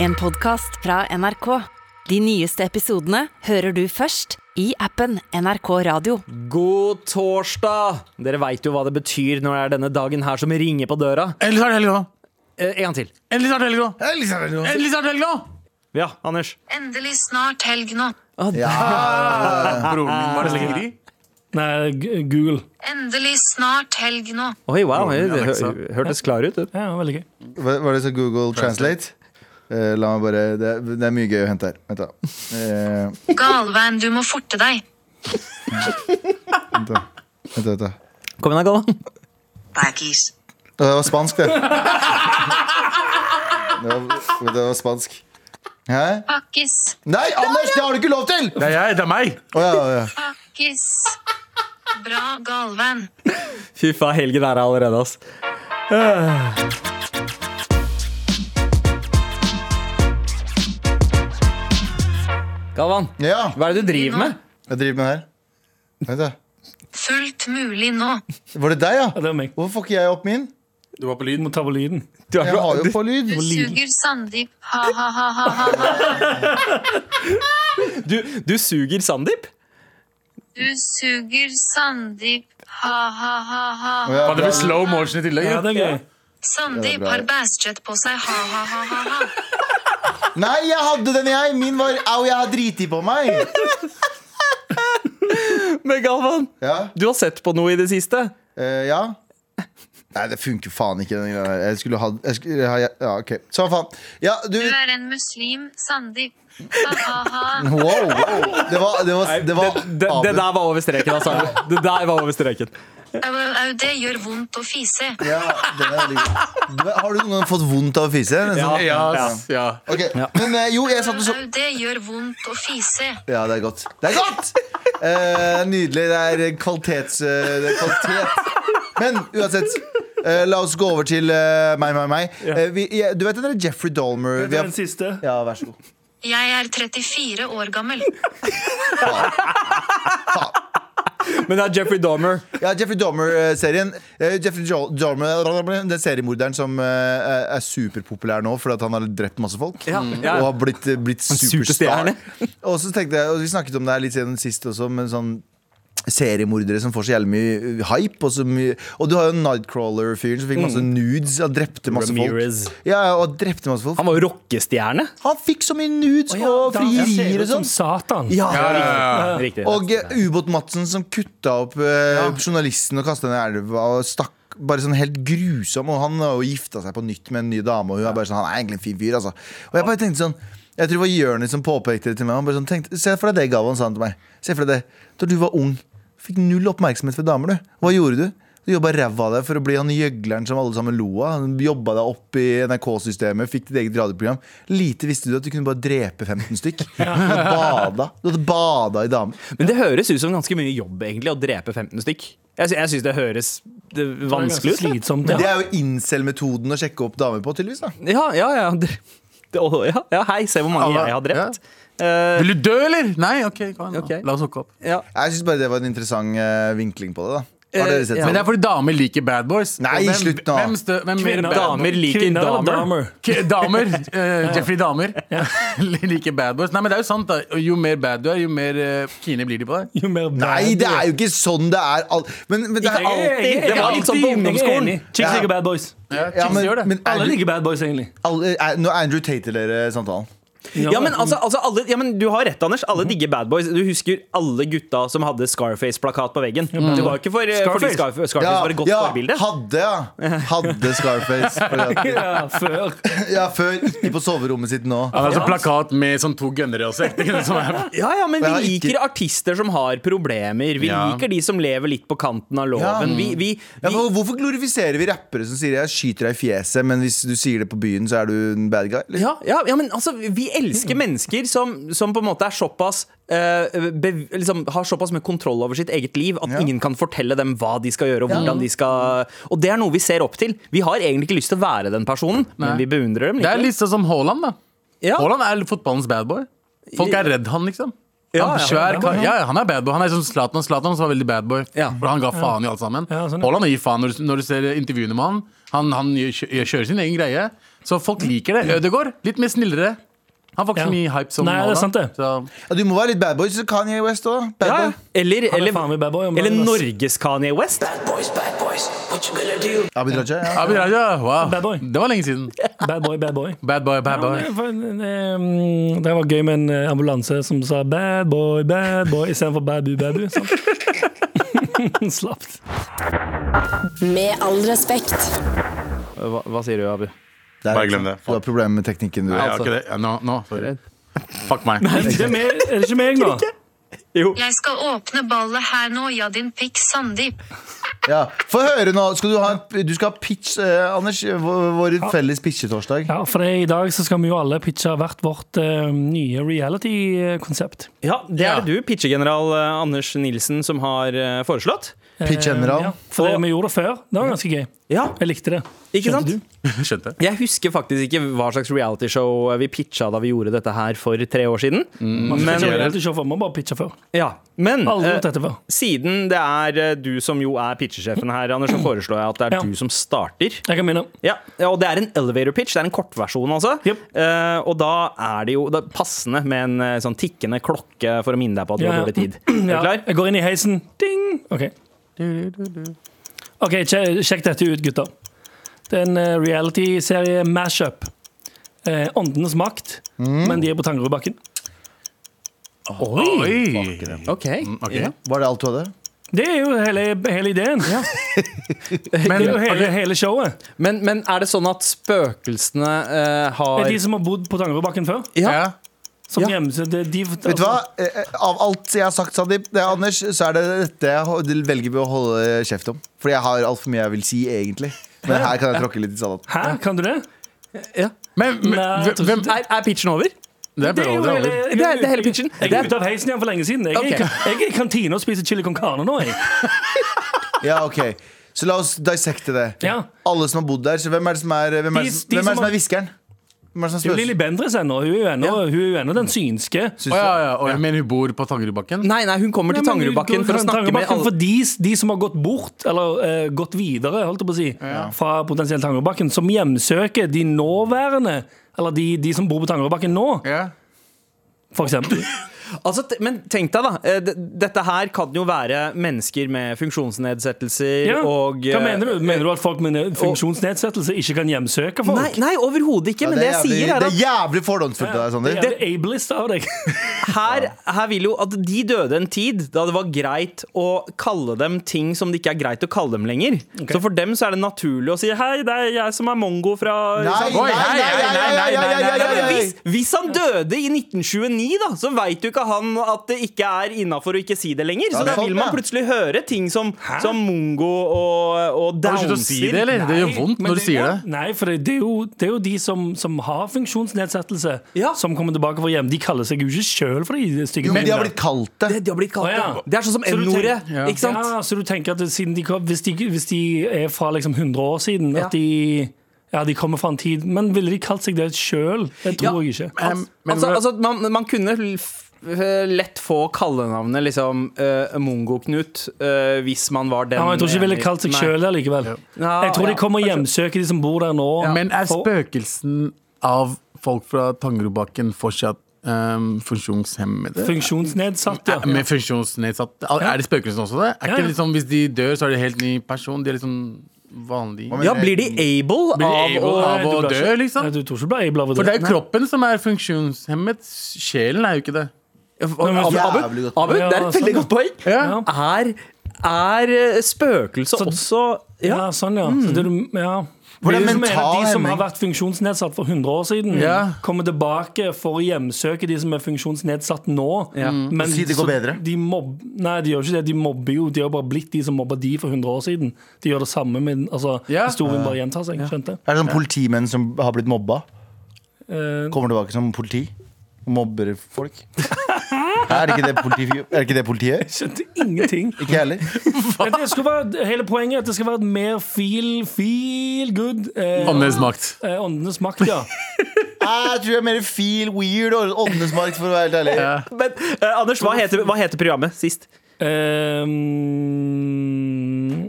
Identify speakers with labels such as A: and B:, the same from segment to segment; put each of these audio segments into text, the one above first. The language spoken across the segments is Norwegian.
A: En podcast fra NRK. De nyeste episodene hører du først i appen NRK Radio.
B: God torsdag! Dere veit jo hva det betyr når det er denne dagen her som ringer på døra.
C: Endelig snart helg nå!
B: Eh, en gang til.
C: Endelig snart helg nå!
D: Endelig er det noe.
C: Endelig snart helg nå!
B: Ja, Anders.
E: Endelig snart helg nå.
C: Broren min var Siri.
F: Nei, G- Google.
E: Endelig snart helg nå.
B: Oi, wow. Det hø-
C: Alexa.
B: hørtes klar ut. det.
F: Ja, veldig gøy.
D: Hva- Var det så Google Translate? Eh, la meg bare det er, det er mye gøy å hente her. Vent, da. Eh,
E: Galveien, du må forte deg.
D: vent, da. Vent, da, vent, da.
B: Kom igjen, da, Galvan.
E: Baggis.
D: Det var spansk, det. det, var, det var spansk. Hæ?
E: Pakkis.
D: Nei, Anders, det har du ikke lov til!
C: Det er jeg, det er meg!
D: Å, ja, ja, ja.
E: Pakkis. Bra, Galveien.
B: Fy faen, helgen er her allerede, ass. Eh. Galvan,
D: ja,
B: hva er det du driver med?
D: jeg driver med det her. Vent, da.
E: Fullt mulig nå.
D: Var det deg,
F: Ja,
D: ja?
F: det var meg.
D: Hvorfor får ikke jeg opp min?
C: Du var på
F: Du
C: lyden.
F: må ta på lyden.
B: Du er
D: Jeg har
B: så,
D: jo på lyd.
E: Du suger Sandeep. Ha-ha-ha-ha.
B: du, du suger Sandeep?
E: Du suger Sandeep.
D: Å,
E: Ha-ha-ha-ha.
D: ja,
C: Faen, det
D: bra.
C: blir slow motion i tillegg.
F: Ja, det er gøy.
E: Sandeep har bæsjet på seg. Ha-ha-ha-ha.
D: Nei, jeg hadde den, jeg! Min var Au, jeg har driti på meg!
B: Men Galvan,
D: Ja.
B: du har sett på noe i det siste.
D: Eh, ja. Nei, det funker faen ikke. Den greia der. jeg skulle ha jeg skulle, ha- Ja, OK. Sånn, faen. Ja, du
E: Du er en muslim, Sandeep. Ha-ha-ha.
D: Wow, wow. Det var, det var, det var
B: Det, det, det der var over streken, altså. Det der var over streken.
E: Au, au, au, det gjør vondt å fise.
D: Ja, den er veldig god. Du, Har du noen gang fått vondt av å fise? Den sånn-
C: Ja, ass, ja.
D: Ok, Men eh, jo, jeg satt og så
E: Au, det gjør vondt å fise.
D: Ja, det er godt. Det er godt! Eh, nydelig. Det er kvalitets... eh, det er kvalitet. Men uansett. eh, la oss gå over til eh, meg, meg, meg. Eh, vi, jeg, du vet den der Jeffrey Dolmer
F: Det
D: vi
F: er
D: har,
F: den siste.
D: Ja, vær så god.
E: Jeg er 34 år gammel.
B: Men det er Jeffrey Dahmer.
D: Ja, Jeffrey Dahmer-serien. Eh, Jeffrey Jo- Dahmer, Den seriemorderen som eh, er- er superpopulær nå fordi at han har drept masse folk.
B: Ja,
D: Mm.
B: ja.
D: Og har blitt, eh, blitt superstar.
B: superstjerne.
D: Og så tenkte jeg, og Vi snakket om det her litt siden sist også, men sånn seriemordere som får så jævlig mye eh, hype. Og, så mye, og du har jo Nightcrawler-fyren som fikk masse nudes og drepte masse
B: Mm. Ramirez.
D: folk. Ja, ja, og drepte masse folk.
B: Han var jo rockestjerne.
D: Han fikk så mye nudes og frierier og
F: som
D: sånn.
F: Satan.
D: Ja,
C: Ja, ja, ja.
B: Riktig.
D: og eh, ubåt Madsen som kutta opp eh, journalisten og kasta henne i elva. Og stakk bare sånn helt grusom Og han har jo gifta seg på nytt med en ny dame, og hun er bare sånn, han er egentlig en fin fyr. Altså. Og jeg bare tenkte sånn Jeg tror det var Jonis som påpekte det til meg. Han bare sånn, tenkte, Se for deg det, Galvan, sa han til meg. Se for deg det. Da du var ung, fikk null oppmerksomhet fra damer, du. Hva gjorde du? Du jobba ræva av deg for å bli han gjøgleren som alle sammen lo av. Han Jobba deg opp i NRK-systemet, fikk ditt eget radioprogram. Lite visste du at du kunne bare drepe 15 stykk. Du hadde bada, du hadde bada i damer.
B: Men det høres ut som ganske mye jobb egentlig å drepe 15 stykk. Jeg, sy jeg syns det høres det, vanskelig ut.
F: Det er
B: da.
F: ganske Slitsomt.
D: Det
F: Ja.
D: er jo incel-metoden å sjekke opp damer på, tydeligvis. da
B: Ja, ja, ja. Det, det, å, ja, ja. Hei, se hvor mange
C: Alle-
B: jeg har drept.
C: Vil du dø, eller? Nei, OK. Kom, igjen, da.
B: Ok.
C: La oss hooke opp.
B: Ja.
D: Jeg syns bare det var en interessant eh, vinkling på det. da Har
B: Eh,
D: dere sett
B: ja.
C: Men det
D: sånn?
C: er fordi damer liker bad boys.
D: Nei,
C: Og hvem-
D: slutt nå.
C: Hvem, stø, hvem mer
F: Kvinner-
C: bad boys?
B: Damer liker
F: Kvinner og
B: damer.
F: damer.
C: K- Damer. eh, Jeffrey Damer. liker bad boys. Nei, men det er jo sant, da. Jo mer bad du er, jo mer eh, kine blir de på deg.
F: Jo mer
D: Nei, det er jo ikke sånn det er! Al men, men det er
B: Ikke-
D: alt
B: alltid- det var litt sånn på ungdomsskolen.
F: Chicks
D: Ja.
F: liker bad boys.
D: ja, men,
C: gjør det.
D: men
F: Alle
D: Andrew,
F: liker bad boys, egentlig.
D: alle, eh, Nå Andrew Tate dere eh, samtalen.
B: Ja, men, altså, altså, alle, ja, men du har rett, Anders. Alle digger Bad Boys. Du husker alle gutta som hadde Scarface-plakat på veggen. Det var ikke for, fordi
F: Scarface.
B: Scarface, Scarface var et godt
D: ja,
B: forbilde.
D: hadde, ja. Hadde Scarface. fordi at-
F: Ja, før.
D: Ja, før. Ikke på soverommet sitt nå.
C: Han har sånn plakat med sånn to gønnere også. Som er
B: Ja, ja, men
D: Og jeg har
B: vi liker
D: ikke-
B: artister som har problemer. Vi
C: Ja.
B: liker de som lever litt på kanten av
D: Ja.
B: loven. Vi, vi,
D: Ja,
B: vi,
D: men hvorfor glorifiserer vi rappere som sier 'jeg skyter deg i fjeset', men hvis du sier det på byen, så er du en bad guy? Eller?
B: ja, ja, ja, men altså, vi elsker
D: Mm.
B: mennesker som, som på en måte er såpass eh, bev, liksom, Har såpass mye kontroll over sitt eget liv at
D: Ja.
B: ingen kan fortelle dem hva de skal gjøre. Og hvordan de skal Og det er noe vi ser opp til. Vi har egentlig ikke lyst til å være den personen,
C: Nei.
B: men vi beundrer dem.
C: Det er
B: likevel.
C: litt sånn som Haaland, da.
B: ja.
C: Haaland er fotballens bad boy. Folk er redd han, liksom.
B: Ja,
C: han,
B: ja,
C: svær,
B: ja,
C: kar-
B: ja.
C: ja, ja, han er bad boy. Han er som Zlatan. Zlatan også var veldig bad boy.
B: Ja.
C: For han ga faen i alt sammen.
F: Ja, sånn, ja.
C: Haaland gir faen når du, når du ser intervjuene med han. Han, han gjør, kjører sin egen greie. Så folk liker det. Ødegaard, litt mer snillere. Han får ikke
F: Ja.
C: så mye hype som
F: Nei, det er
C: Haaland,
F: sant det.
C: Så,
D: Ja, du må være litt bad boy, så Kanye West òg. Bad
B: Ja,
D: boy.
B: ja. Eller,
F: Han er
B: eller,
F: faen meg bad boy om
B: eller
F: dagen, ass.
B: Norges Kanye West.
D: Abid Raja. Ja.
C: Abid Raja, wow.
F: Bad boy.
C: Det var lenge siden.
F: Bad boy, bad boy.
C: Bad boy, bad boy.
F: Ja, for, eh, Det var gøy med en eh, ambulanse som sa 'bad boy, bad boy' istedenfor 'bad bu, bad bu'. Sant? Slapt.
G: Med all respekt.
B: Hva, hva sier du, Abu?
D: Der,
C: Bare glem det.
D: Du har problemer med teknikken, du.
C: Nei, jeg har ikke det. Ja, Nå, nå, sorry. Fuck meg.
F: Er det ikke meg, er det ikke meg nå?
E: Jeg skal åpne ballet her nå, ja din pikk Sandeep.
D: Ja. Få høre nå. Skal du, ha, en- du skal ha pitch, eh, Anders. vår- Vår felles pitchetorsdag.
F: Ja, for det, er I dag så skal vi jo alle pitche hvert vårt eh, nye reality-konsept.
B: Ja, Det
C: Ja.
B: er det du, pitchegeneral eh, Anders Nilsen, som har eh, foreslått.
D: Pitch general.
F: Ja, for det, vi gjorde det før. Det var ganske gøy.
B: Ja,
F: Jeg likte det.
B: ikke sant?
F: Skjønte du?
C: Skjønte.
B: Jeg husker faktisk ikke hva slags realityshow vi pitcha da vi gjorde dette her for tre år siden.
C: Mm.
F: Men,
B: Men,
F: reality show for, man bare pitcher før.
B: ja. Men
F: Aldri
B: eh,
F: gjort dette før.
B: siden det er eh, du som jo er pitchesjefen her, Anders, så foreslår jeg at det er
F: Ja.
B: du som starter.
F: Jeg kan minne.
B: Ja, ja, og det er en elevator pitch. Det er en kortversjon, altså.
F: Jep.
B: Eh, og da er det jo da, passende med en eh, sånn tikkende klokke for å minne deg på at du har dårlig tid. Er
F: Ja,
B: du klar?
F: jeg går inn i heisen. Ding! OK. Ok, kje- Sjekk dette ut, gutter. Det er en eh, reality-serie mashup. Eh, åndenes makt, men de er på Tangerudbakken.
C: Oi!
B: Ok.
C: Mm, Ok.
D: Var det alt du hadde?
F: Det er jo hele, hele ideen.
C: Men,
F: Det er jo hele, hele showet.
B: Men, men er det sånn at spøkelsene eh,
F: Det
B: har
F: er de som har bodd på Tangerudbakken før.
C: ja.
F: Som
B: Ja.
F: gjemmer seg. Det er de, altså,
D: Vet du hva? Eh, eh, Av alt jeg har sagt, Sandeep, det er Anders, så er det dette jeg ho- velger vi å holde kjeft om. Fordi jeg har altfor mye jeg vil si, egentlig. Men her kan jeg tråkke litt i salaten.
F: Hæ, kan du det?
C: men, men
F: Nei, jeg tror
C: hvem
F: ikke
B: er, er pitchen over?
C: Det er
F: Det er jo
C: bra.
F: hele,
C: Det
B: Det er- det er hele pitchen.
F: Jeg
B: Det er-
F: er ute av heisen igjen for lenge siden. Jeg er,
B: Ok.
F: i, jeg er i kantina og spiser chili con carne nå. Jeg.
D: Ja, ok Så la oss dissekte det.
F: Ja.
D: Alle som har bodd der. Så hvem er det som er Hvem er det
F: De-
D: som,
F: de som
D: hvem er det som
F: har-
D: er hviskeren? Hvem er det som
F: Det er jo
D: spøs?
F: Lilly Bendriss ennå. Hun er jo ennå hun er jo ennå den synske.
D: Syns
C: Å
D: du-
C: ja, ja. Oi, Men hun bor på Tangerudbakken?
B: Nei, nei, hun kommer til
F: Nei, men hun
B: Tangerudbakken
F: går
B: for å
F: til
B: snakke med
F: Tangerudbakken
B: alle
F: For de, de som har gått bort, eller eh, gått videre, holdt jeg på å si, fra potensielt Tangerudbakken, som hjemsøker de nåværende, eller de, de som bor på Tangerudbakken nå,
C: Ja.
F: for eksempel.
B: Altså, t- men tenk deg, da. eh, d- Dette her kan jo være mennesker med funksjonsnedsettelser
F: Ja.
B: og eh,
F: Hva mener du? Mener du at folk med ne- funksjonsnedsettelse ikke kan hjemsøke folk?
B: eh, Nei, nei overhodet ikke.
D: Ja,
B: men det, jeg
D: jævlig,
B: sier, er
D: det
B: at
D: er jævlig fordomsfullt av deg, Sander.
F: Det er ableist av deg.
B: her, her vil jo at de døde en tid da det var greit å kalle dem ting som det ikke er greit å kalle dem lenger. Så for dem så er det naturlig å si 'hei, det er jeg som er mongo fra
D: Nei,
C: Oi,
D: nei,
C: hei,
D: nei,
C: hei,
D: nei,
C: nei,
D: nei,
C: nei,
D: nei,
C: nei,
D: nei,
B: Ja,
D: nei,
B: men
D: nei.
B: hvis, hvis han døde i 1929, da, så veit jo ikke han at det ikke er innafor å ikke si det lenger. Så
D: Ja,
B: da
D: det er
B: vil
D: sant,
B: man
D: ja.
B: plutselig høre ting som, som mongo og, og
C: Har du slutt å si det,
B: downser.
C: eller? Det gjør vondt
F: Men
C: når du sier det.
F: Nei, for det, det, er, jo, det er jo de som, som har funksjonsnedsettelse,
B: Ja.
F: som kommer tilbake fra hjem. De kaller seg jo ikke sjøl for de stygge
D: Jo, men de har
F: tingene.
D: blitt kalt det.
B: Det de har blitt kalt
F: Å, ja.
B: det. Det er sånn som
F: Så du
B: N-ordet,
F: tenker-
B: ikke sant?
F: Ja, så du tenker at siden de, kom- hvis, de, hvis de er fra liksom 100 år siden,
B: Ja.
F: at de ja, de kommer fra en tid Men ville de kalt seg det sjøl? Det tror jeg ikke.
C: Um, men-
B: altså, altså, man, man kunne f- lett få kallenavnet liksom eh, Mongo-Knut eh, hvis man var den eh,
F: Ja, men jeg tror ikke de ville kalt seg
B: Nei.
F: sjøl der likevel.
B: Ja,
F: Jeg tror
B: ja,
F: de kommer og hjemsøker de som bor der nå.
C: Men er
F: For-
C: spøkelsen av folk fra Tangerudbakken fortsatt um, funksjonshemmede?
F: Funksjonsnedsatt,
C: Er-
F: ja.
C: Med funksjonsnedsatt Al- Er det spøkelsen også det? Er ikke
F: Ja, ja.
C: det liksom, hvis de dør, så er det helt ny person? De er liksom vanlig
D: Hva
B: Ja, blir de able
C: Blir de
B: av
C: able
B: å
C: av
F: Nei,
C: å
F: du ble
C: dø,
F: ikke- Nei,
C: liksom?
F: du tror ikke du ble able av å
C: For
F: dø.
C: det er jo kroppen som er funksjonshemmet. Sjelen er jo ikke det.
B: Abu, Abu,
D: Jævlig godt.
B: Abu, det er
F: Ja,
B: et veldig
F: sånn,
B: godt poeng.
F: Ja.
B: Er, er spøkelset også
F: Ja,
B: ja.
F: sånn, ja. Så det, du- ja.
D: For det
F: Du
D: er
F: mener
D: mental
F: De som har
D: hemming.
F: vært funksjonsnedsatt for 100 år siden,
C: Ja.
F: kommer tilbake for å hjemsøke de som er funksjonsnedsatt nå.
B: Ja.
F: Men
D: Si det
F: så
D: går bedre.
F: De mobb, nei, de gjør ikke det. De mobber jo. De har bare blitt de som mobba de for 100 år siden. De gjør det samme med altså,
C: Ja.
F: Historien bare gjentar seg. Skjønte?
D: Er det sånn politimenn som har blitt mobba?
F: Eh,
D: Kommer tilbake som politi? Og mobber folk? Er det ikke det, politi, er det, ikke det politiet?
F: skjønte ingenting.
D: Ikke jeg heller.
F: Men Det skal være, hele poenget er at det skal være et mer feel, feel good. eh,
C: Åndenes makt.
F: eh, åndenes makt, ja.
D: Ah, Jeg tror jeg er mer feel weird og åndenes makt, for å være helt ærlig.
B: Men eh, Anders, hva heter, hva heter programmet sist?
F: Ehm,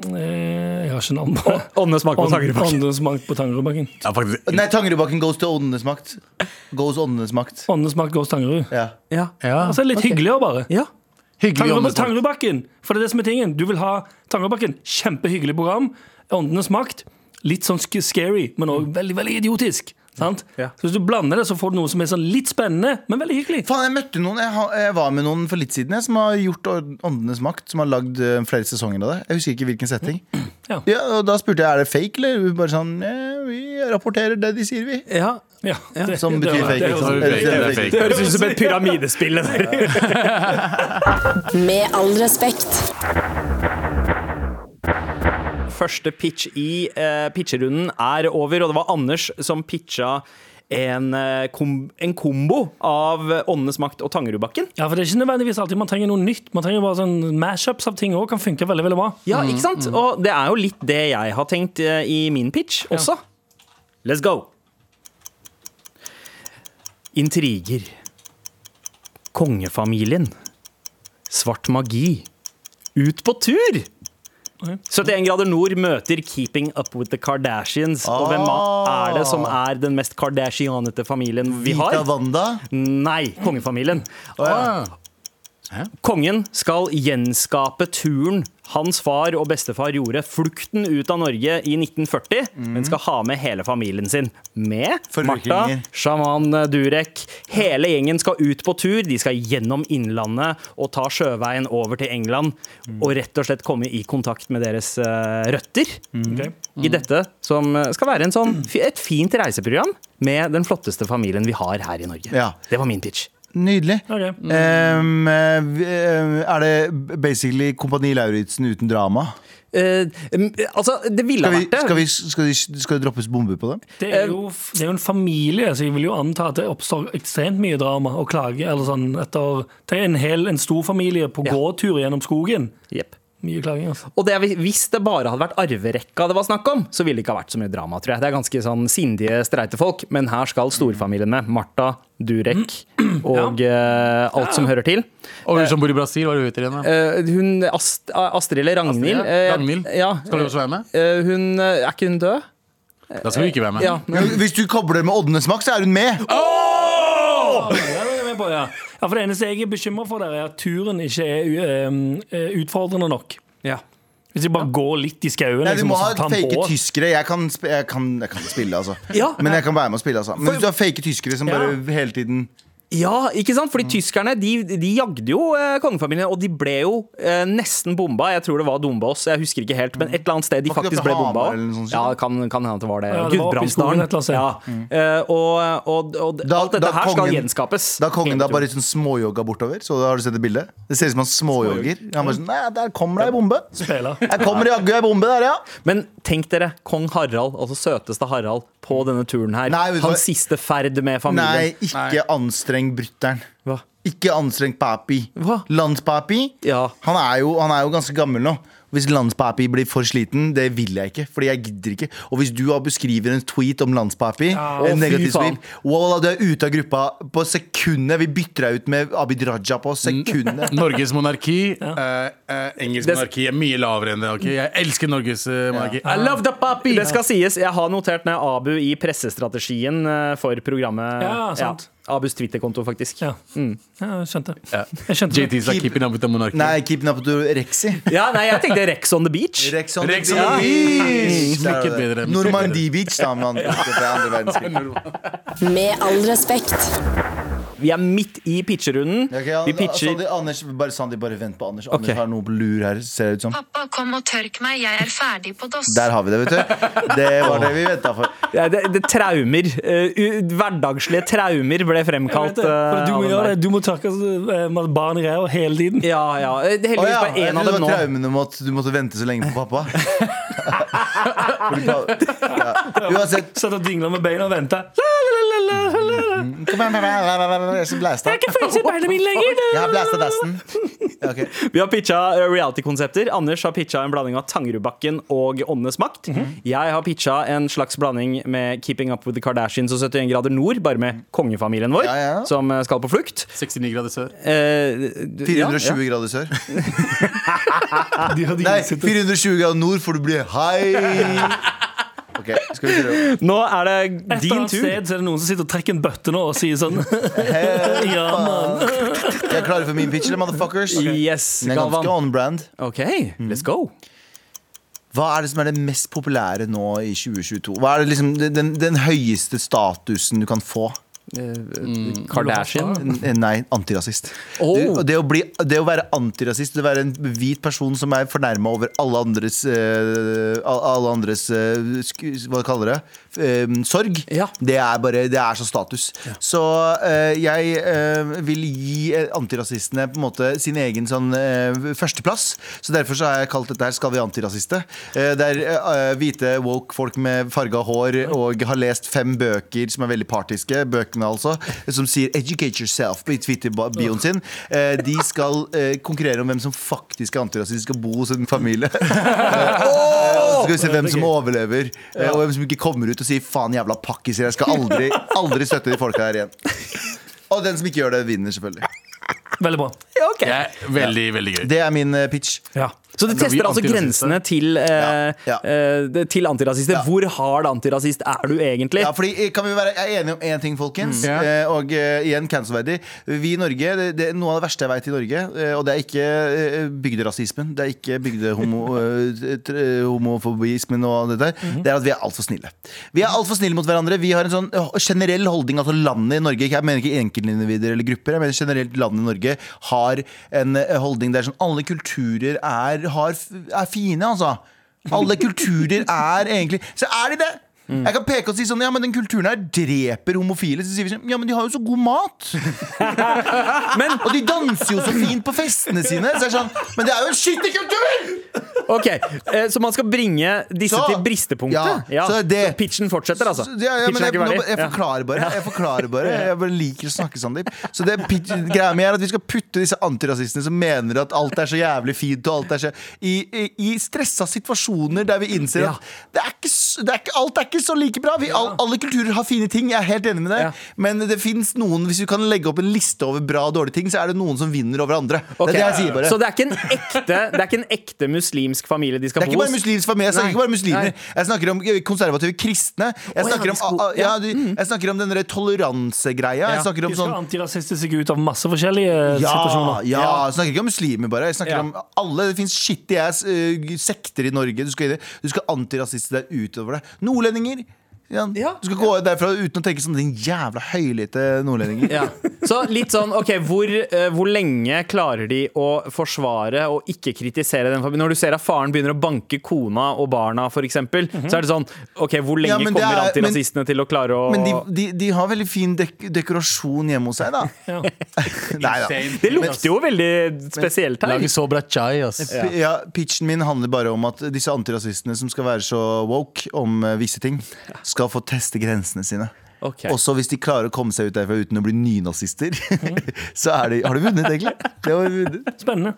F: Eh, eh, jeg har har ikke navn på
B: Åndenes makt på Tangerudbakken.
F: Åndenes makt på Tangerudbakken.
C: Ja, faktisk.
D: Nei, Tangerudbakken goes til åndenes makt. Goes åndenes makt.
F: Åndenes makt går til Tangerud.
D: Ja.
B: Ja.
C: Ja.
F: Altså, det er litt hyggeligere, bare.
B: ja.
C: Hyggelig
F: Tangerud-
C: åndesmak.
F: Tangerudbakken! For det er det som er tingen. Du vil ha Tangerudbakken. Kjempehyggelig program. Åndenes makt. Litt sånn sk- scary, men òg veldig veldig idiotisk. Sant?
B: Ja.
F: Så Hvis du blander det, så får du noe som er sånn litt spennende, men veldig hyggelig.
D: Faen, jeg møtte noen jeg, ha- jeg var med noen for litt siden jeg, som har gjort Ånd- Åndenes makt. Som har lagd eh, flere sesonger av det. Jeg husker ikke hvilken setting.
F: Ja.
D: og Da spurte jeg er det fake, eller Hun bare sånn eh, Vi rapporterer det de sier, vi.
B: ja.
F: Ja, det-
D: Som
F: det-
D: betyr
F: det-
D: fake.
F: det-
D: ikke sant?
C: det- det- det- det- det-
B: Det høres ut som et pyramidespill. det der.
G: Med all respekt.
B: Første pitch i eh, pitcherunden er over, og det var Anders som pitcha en, eh, kom, en kombo av Åndenes makt og Tangerudbakken.
F: Ja, for det er ikke nødvendigvis alltid man trenger noe nytt. Man trenger bare sånn mashups av ting òg. Kan funke veldig veldig bra.
B: Ja, ikke sant? Og det er jo litt det jeg har tenkt eh, i min pitch også. Let's go! Intriger. Kongefamilien. Svart magi. Ut på tur! 71 grader nord møter Keeping Up With The Kardashians. Og hvem er det som er den mest kardashianete familien vi
D: Vita
B: har?
D: Wanda.
B: Nei, kongefamilien.
C: Ah.
B: Kongen skal gjenskape turen hans far og bestefar gjorde flukten ut av Norge i 1940, men skal ha med hele familien sin. Med Martha,
D: Forviklinger.
B: sjaman Durek. Hele gjengen skal ut på tur. De skal gjennom Innlandet og ta sjøveien over til England. Og rett og slett komme i kontakt med deres eh, røtter
F: Ok.
B: i dette, som eh, skal være en sånn, fi- et fint reiseprogram med den flotteste familien vi har her i Norge.
D: Ja.
B: Det var min pitch.
D: Nydelig.
F: Ok.
D: Ehm, eh, vi- eh, er det basically Kompani Lauritzen uten drama?
B: Eh, m- altså, det ville
D: Skal,
B: ha
D: vi,
B: vært det.
D: skal, vi, skal, de, skal det droppes bomber på dem?
F: Det er, jo, det er jo en familie, så jeg vil jo anta at det oppstår ekstremt mye drama og klage. Eller sånn etter Tenk en, hel, en stor familie på
B: Ja.
F: gåtur gjennom skogen.
B: Jepp.
F: Mye klaging, altså.
B: Og det, er- hvis det bare hadde vært arverekka det var snakk om, så ville det ikke ha vært så mye drama, tror jeg. Det er ganske sånn sindige, streite folk, men her skal storfamilien med. Martha, Durek
C: Mm.
B: og eh, alt som hører til.
C: Og hun som bor i Brasil, hva er det hun heter igjen? da?
B: Eh, hun Ast Astrid eller Ragnhild
C: Astrid, ja.
B: eh,
C: Ragnhild.
B: Ja,
C: Skal hun også være med?
B: eh, hun, eh, er ikke hun død?
C: Da skal hun ikke være med.
B: Ja.
D: Ja, Hvis du kobler med Åndenes makt, så er hun med!
F: Ja, det er jeg med på, ja. ja, for Det eneste jeg er bekymra for, der er at turen ikke er u- eh, utfordrende nok.
B: Ja.
F: Hvis de bare går litt i skauen.
D: Nei, du
F: liksom,
D: må
F: og
D: ha
F: så tar den
D: fake
F: på.
D: tyskere. Jeg kan, sp- jeg kan, jeg kan spille, altså.
B: Ja.
D: Men jeg kan være med og spille, altså. Men hvis du har fake tyskere som bare
F: Ja.
D: hele tiden
B: Ja, ikke sant? Fordi tyskerne de, de jagde jo eh, kongefamilien, og de ble jo eh, nesten bomba. Jeg tror det var Dombås, jeg husker ikke helt, men et eller annet sted de
D: Var ikke det
B: faktisk
D: på
B: ble bomba.
D: Hamar eller noe sånt? Mm.
B: Ja, kan kan hende at det var det.
F: Ja, det var oppe i
B: Gudbrandsdalen.
F: skogen et eller annet sted.
B: Ja. Eh, og og, og
D: Da-
B: alt dette
D: da
B: her skal
D: kongen-
B: gjenskapes.
D: Da kongen da bare sånn småjogga bortover. Så har du sett det bildet? Det ser ut som han småjogger. Han bare sånn Nei, der kommer det ei bombe.
F: Spela.
D: Jeg kommer jaggu ei bombe der, ja.
B: Men tenk dere, kong Harald, altså søteste Harald, på denne turen her.
D: Mm. Nei, vet du hva?
B: Hans siste ferd med
D: Nei,
B: familien.
D: ikke anstreng brutter'n.
B: Hva?
D: Ikke anstreng papi.
B: Hva?
D: Landspapi.
B: Ja.
D: Han, er jo, han er jo ganske gammel nå. Hvis landspapi blir for sliten, det vil jeg ikke. Fordi jeg gidder ikke. Og hvis du har beskriver en tweet om landspapi,
B: Å, fy
D: en negativ
B: faen.
D: tweet Wallah, du er ute av gruppa på sekundet. Vi bytter deg ut med Abid Raja på sekundet.
C: Norges monarki. eh, eh, engelsk
B: Det-
C: monarki er mye lavere enn det. ok? Jeg elsker Norges eh, monarki. I love the papi!
B: Det skal sies, jeg har notert ned Abu i pressestrategien eh, for programmet.
F: Ja, sant.
B: Abus Twitter-konto, faktisk.
F: Ja. ja, jeg skjønte.
C: Ja.
F: Jeg skjønte det.
C: JT's like keeping up with the monarchy.
D: Nei, kidnappet du Rexy?
B: Mm. Ja, nei, jeg tenkte Rex on the beach.
D: Rex on
C: Rex
D: the
C: on the
D: beach!
C: beach.
D: Der er
C: Mye
D: det.
C: bedre, mye
D: Normandie Beach, da. Man. Det er andre verdenskrig.
G: Med all respekt.
B: Vi er midt i pitcherunden.
D: Ok, ja, altså,
B: Vi pitcher
D: Sandi, Anders, bare, Sandi, bare vent på Anders. Anders
B: Ok.
D: har noe på lur her, ser det ut som.
E: Pappa, kom og tørk meg, jeg er ferdig på dass.
D: Der har vi det, vet du. Det var det vi venta for.
B: ja, det, det traumer. eh, u- hverdagslige traumer ble
F: Jeg vet
B: fremkalt.
F: det, for
B: eh, av
F: du må
B: den
F: gjøre
B: der.
F: det. Du må tørke eh, med barn i ræva hele tiden.
B: Ja, ja. eh, Det er
D: Å
B: heldigvis
D: ja,
B: bare
D: jeg
B: én av
D: trodde det
B: dem
D: var
B: nå.
D: traumen om at du måtte vente så lenge på pappa. Fordi pa- ja. Uansett,
F: Satt og dingla med beina og venta. La, la, la, la, la, la.
D: Kom igjen, Jeg skal blaste.
F: Jeg kan ikke følelse i beina mine lenger!
D: Jeg har blæsta dassen. Ok.
B: Vi har pitcha eh, reality-konsepter. Anders har pitcha en blanding av Tangerudbakken og Åndenes makt.
F: Mhm.
B: Jeg har pitcha en slags blanding med Keeping Up With The Kardashians og 71 grader nord, bare med kongefamilien vår,
D: Mhm. Ja, ja.
B: som eh, skal på flukt.
C: 69 grader sør.
B: Eh, du- ja,
D: 420 grader sør. Nei, 420 grader nord, for du blir high. Ok, skal vi
B: ja.
D: prøve.
B: Nå er det
F: Et eller
B: din
F: annet
B: tur.
F: sted så er det noen som sitter og trekker en bøtte nå og sier sånn Ja, mann.
D: Jeg er klare for min pitch, eller motherfuckers?
B: Yes,
D: Den er ganske
B: Galvan.
D: on brand.
B: OK, let's go.
D: Hva er det som er det mest populære nå i 2022? Hva er det liksom den- den, den høyeste statusen du kan få?
F: Mm.
B: Kardashian.
D: Eh, Nei, antirasist. Du, og det, å bli, det å være antirasist, det å være en hvit person som er fornærma over alle andres, eh, al- alle andres eh, sku, Hva kaller det? Eh, sorg.
B: Ja.
D: Det, er bare, det er så status. Så eh, jeg eh, vil gi eh, antirasistene på en måte sin egen sånn eh, førsteplass. Så derfor så har jeg kalt dette her 'Skal vi antirasiste'? Eh, der eh, hvite woke folk med farga hår og har lest fem bøker som er veldig partiske, bøkene altså, som sier 'educate yourself' på Twitter-bioen sin. Eh, de skal eh, konkurrere om hvem som faktisk er antirasist, skal bo hos en familie. Så skal vi se hvem som overlever, eh, og hvem som ikke kommer ut og sier 'faen, jævla pakkiser', jeg skal aldri, aldri støtte de folka her igjen. Og den som ikke gjør det, vinner, selvfølgelig.
F: Veldig bra.
C: Ja, veldig, veldig gøy.
D: Det er min eh, pitch.
F: Ja.
B: Så du
C: Da blir
B: tester altså
C: antirasister.
B: grensene til, eh,
D: Ja, ja.
B: eh, det- til antirasister.
D: Ja.
B: Hvor hard antirasist er du egentlig?
D: Ja, fordi eh, kan vi være jeg er enige om én ting, folkens?
C: Mm.
D: Eh, og eh, igjen, cancelverdig. Vi i Norge, det, det er noe av det verste jeg vet i Norge, eh, og det er ikke eh, bygderasismen, det er ikke bygdehomo, eh, tr- homofobismen og det der, det er at vi er altfor snille. Vi er altfor snille mot hverandre. Vi har en sånn eh, generell holdning, altså landet i Norge, ikke- jeg mener ikke enkeltindivider eller grupper, jeg mener generelt landet i Norge har en eh, holdning der sånn alle kulturer er, har, er fine, altså. Alle kulturer er egentlig Så er de det! Jeg kan peke og si sånn Ja, men den kulturen her dreper homofile. Så sier vi sånn Ja, men de har jo så god mat! og de danser jo så fint på festene sine! Så er det sånn Men det er jo en skittig kultur!
B: Ok, eh, Så man skal bringe disse
D: Så-
B: til bristepunktet?
D: Ja, så det-
B: pitchen fortsetter, altså?
D: Så- Ja, ja, men
B: pitchen er
D: jeg,
B: ikke
D: nå,
B: ferdig?
D: jeg
B: Ja.
D: forklarer bare. Jeg forklarer bare Jeg bare liker å snakke, Sandeep. Så det pitch- greia mi er at vi skal putte disse antirasistene som mener at alt er så jævlig fint, og alt er så I, i, i stressa situasjoner der vi innser
B: Ja.
D: at det er ikke, s- det er ikke, alt er ikke så like bra. Vi, all, alle kulturer har fine ting, jeg er helt enig med deg,
B: Ja.
D: men det fins noen Hvis vi kan legge opp en liste over bra og dårlige ting, så er det noen som vinner over andre.
B: Ok,
D: Det er det jeg sier bare.
B: Så det er ikke en ekte Det er ikke en ekte muslimsk familie de skal
D: Det er
B: bo
D: ikke bare
B: hos?
D: muslimsk familie. Jeg snakker
B: Nei.
D: ikke bare om muslimer.
B: Nei.
D: Jeg snakker om konservative kristne. Jeg
B: ja, Mm.
D: snakker
B: de
D: om,
B: sko-
D: a- a- ja, du- jeg snakker om den derre toleransegreia. Jeg snakker
F: De
D: om
F: skal
D: sånn
F: antirasiste seg ut av masse forskjellige
D: ja,
F: situasjoner.
D: ja, jeg snakker ikke om muslimer bare. Jeg snakker
B: Ja.
D: om alle Det fins shitty ass eh, sekter i Norge. Du skal, inn i- du skal antirasiste deg utover det. Nordlendinger. Ja.
B: Ja.
D: Du skal gå derfra uten å tenke sånn din jævla høylytte nordlendinger.
B: Ja. Så litt sånn, ok, hvor, eh, hvor lenge klarer de å forsvare og ikke kritisere den familien? Når du ser at faren begynner å banke kona og barna, for eksempel, så er det sånn Ok, hvor lenge
D: Mhm. Ja, men det
B: kommer
D: er- men-
B: antirasistene til å klare å
D: Men de, de, de har veldig fin dek dekorasjon hjemme hos seg, da.
F: Ja.
D: Nei da.
B: Det lukter jo veldig spesielt her.
C: Lager så bra chai, ass.
D: P- Ja, pitchen min handler bare om at disse antirasistene som skal være så woke om eh, visse ting, skal få teste grensene sine.
B: Ok.
D: Også hvis de klarer å komme seg ut derfra uten å bli nynazister. så er de, har de vunnet, egentlig. Det var vunnet.
F: Spennende.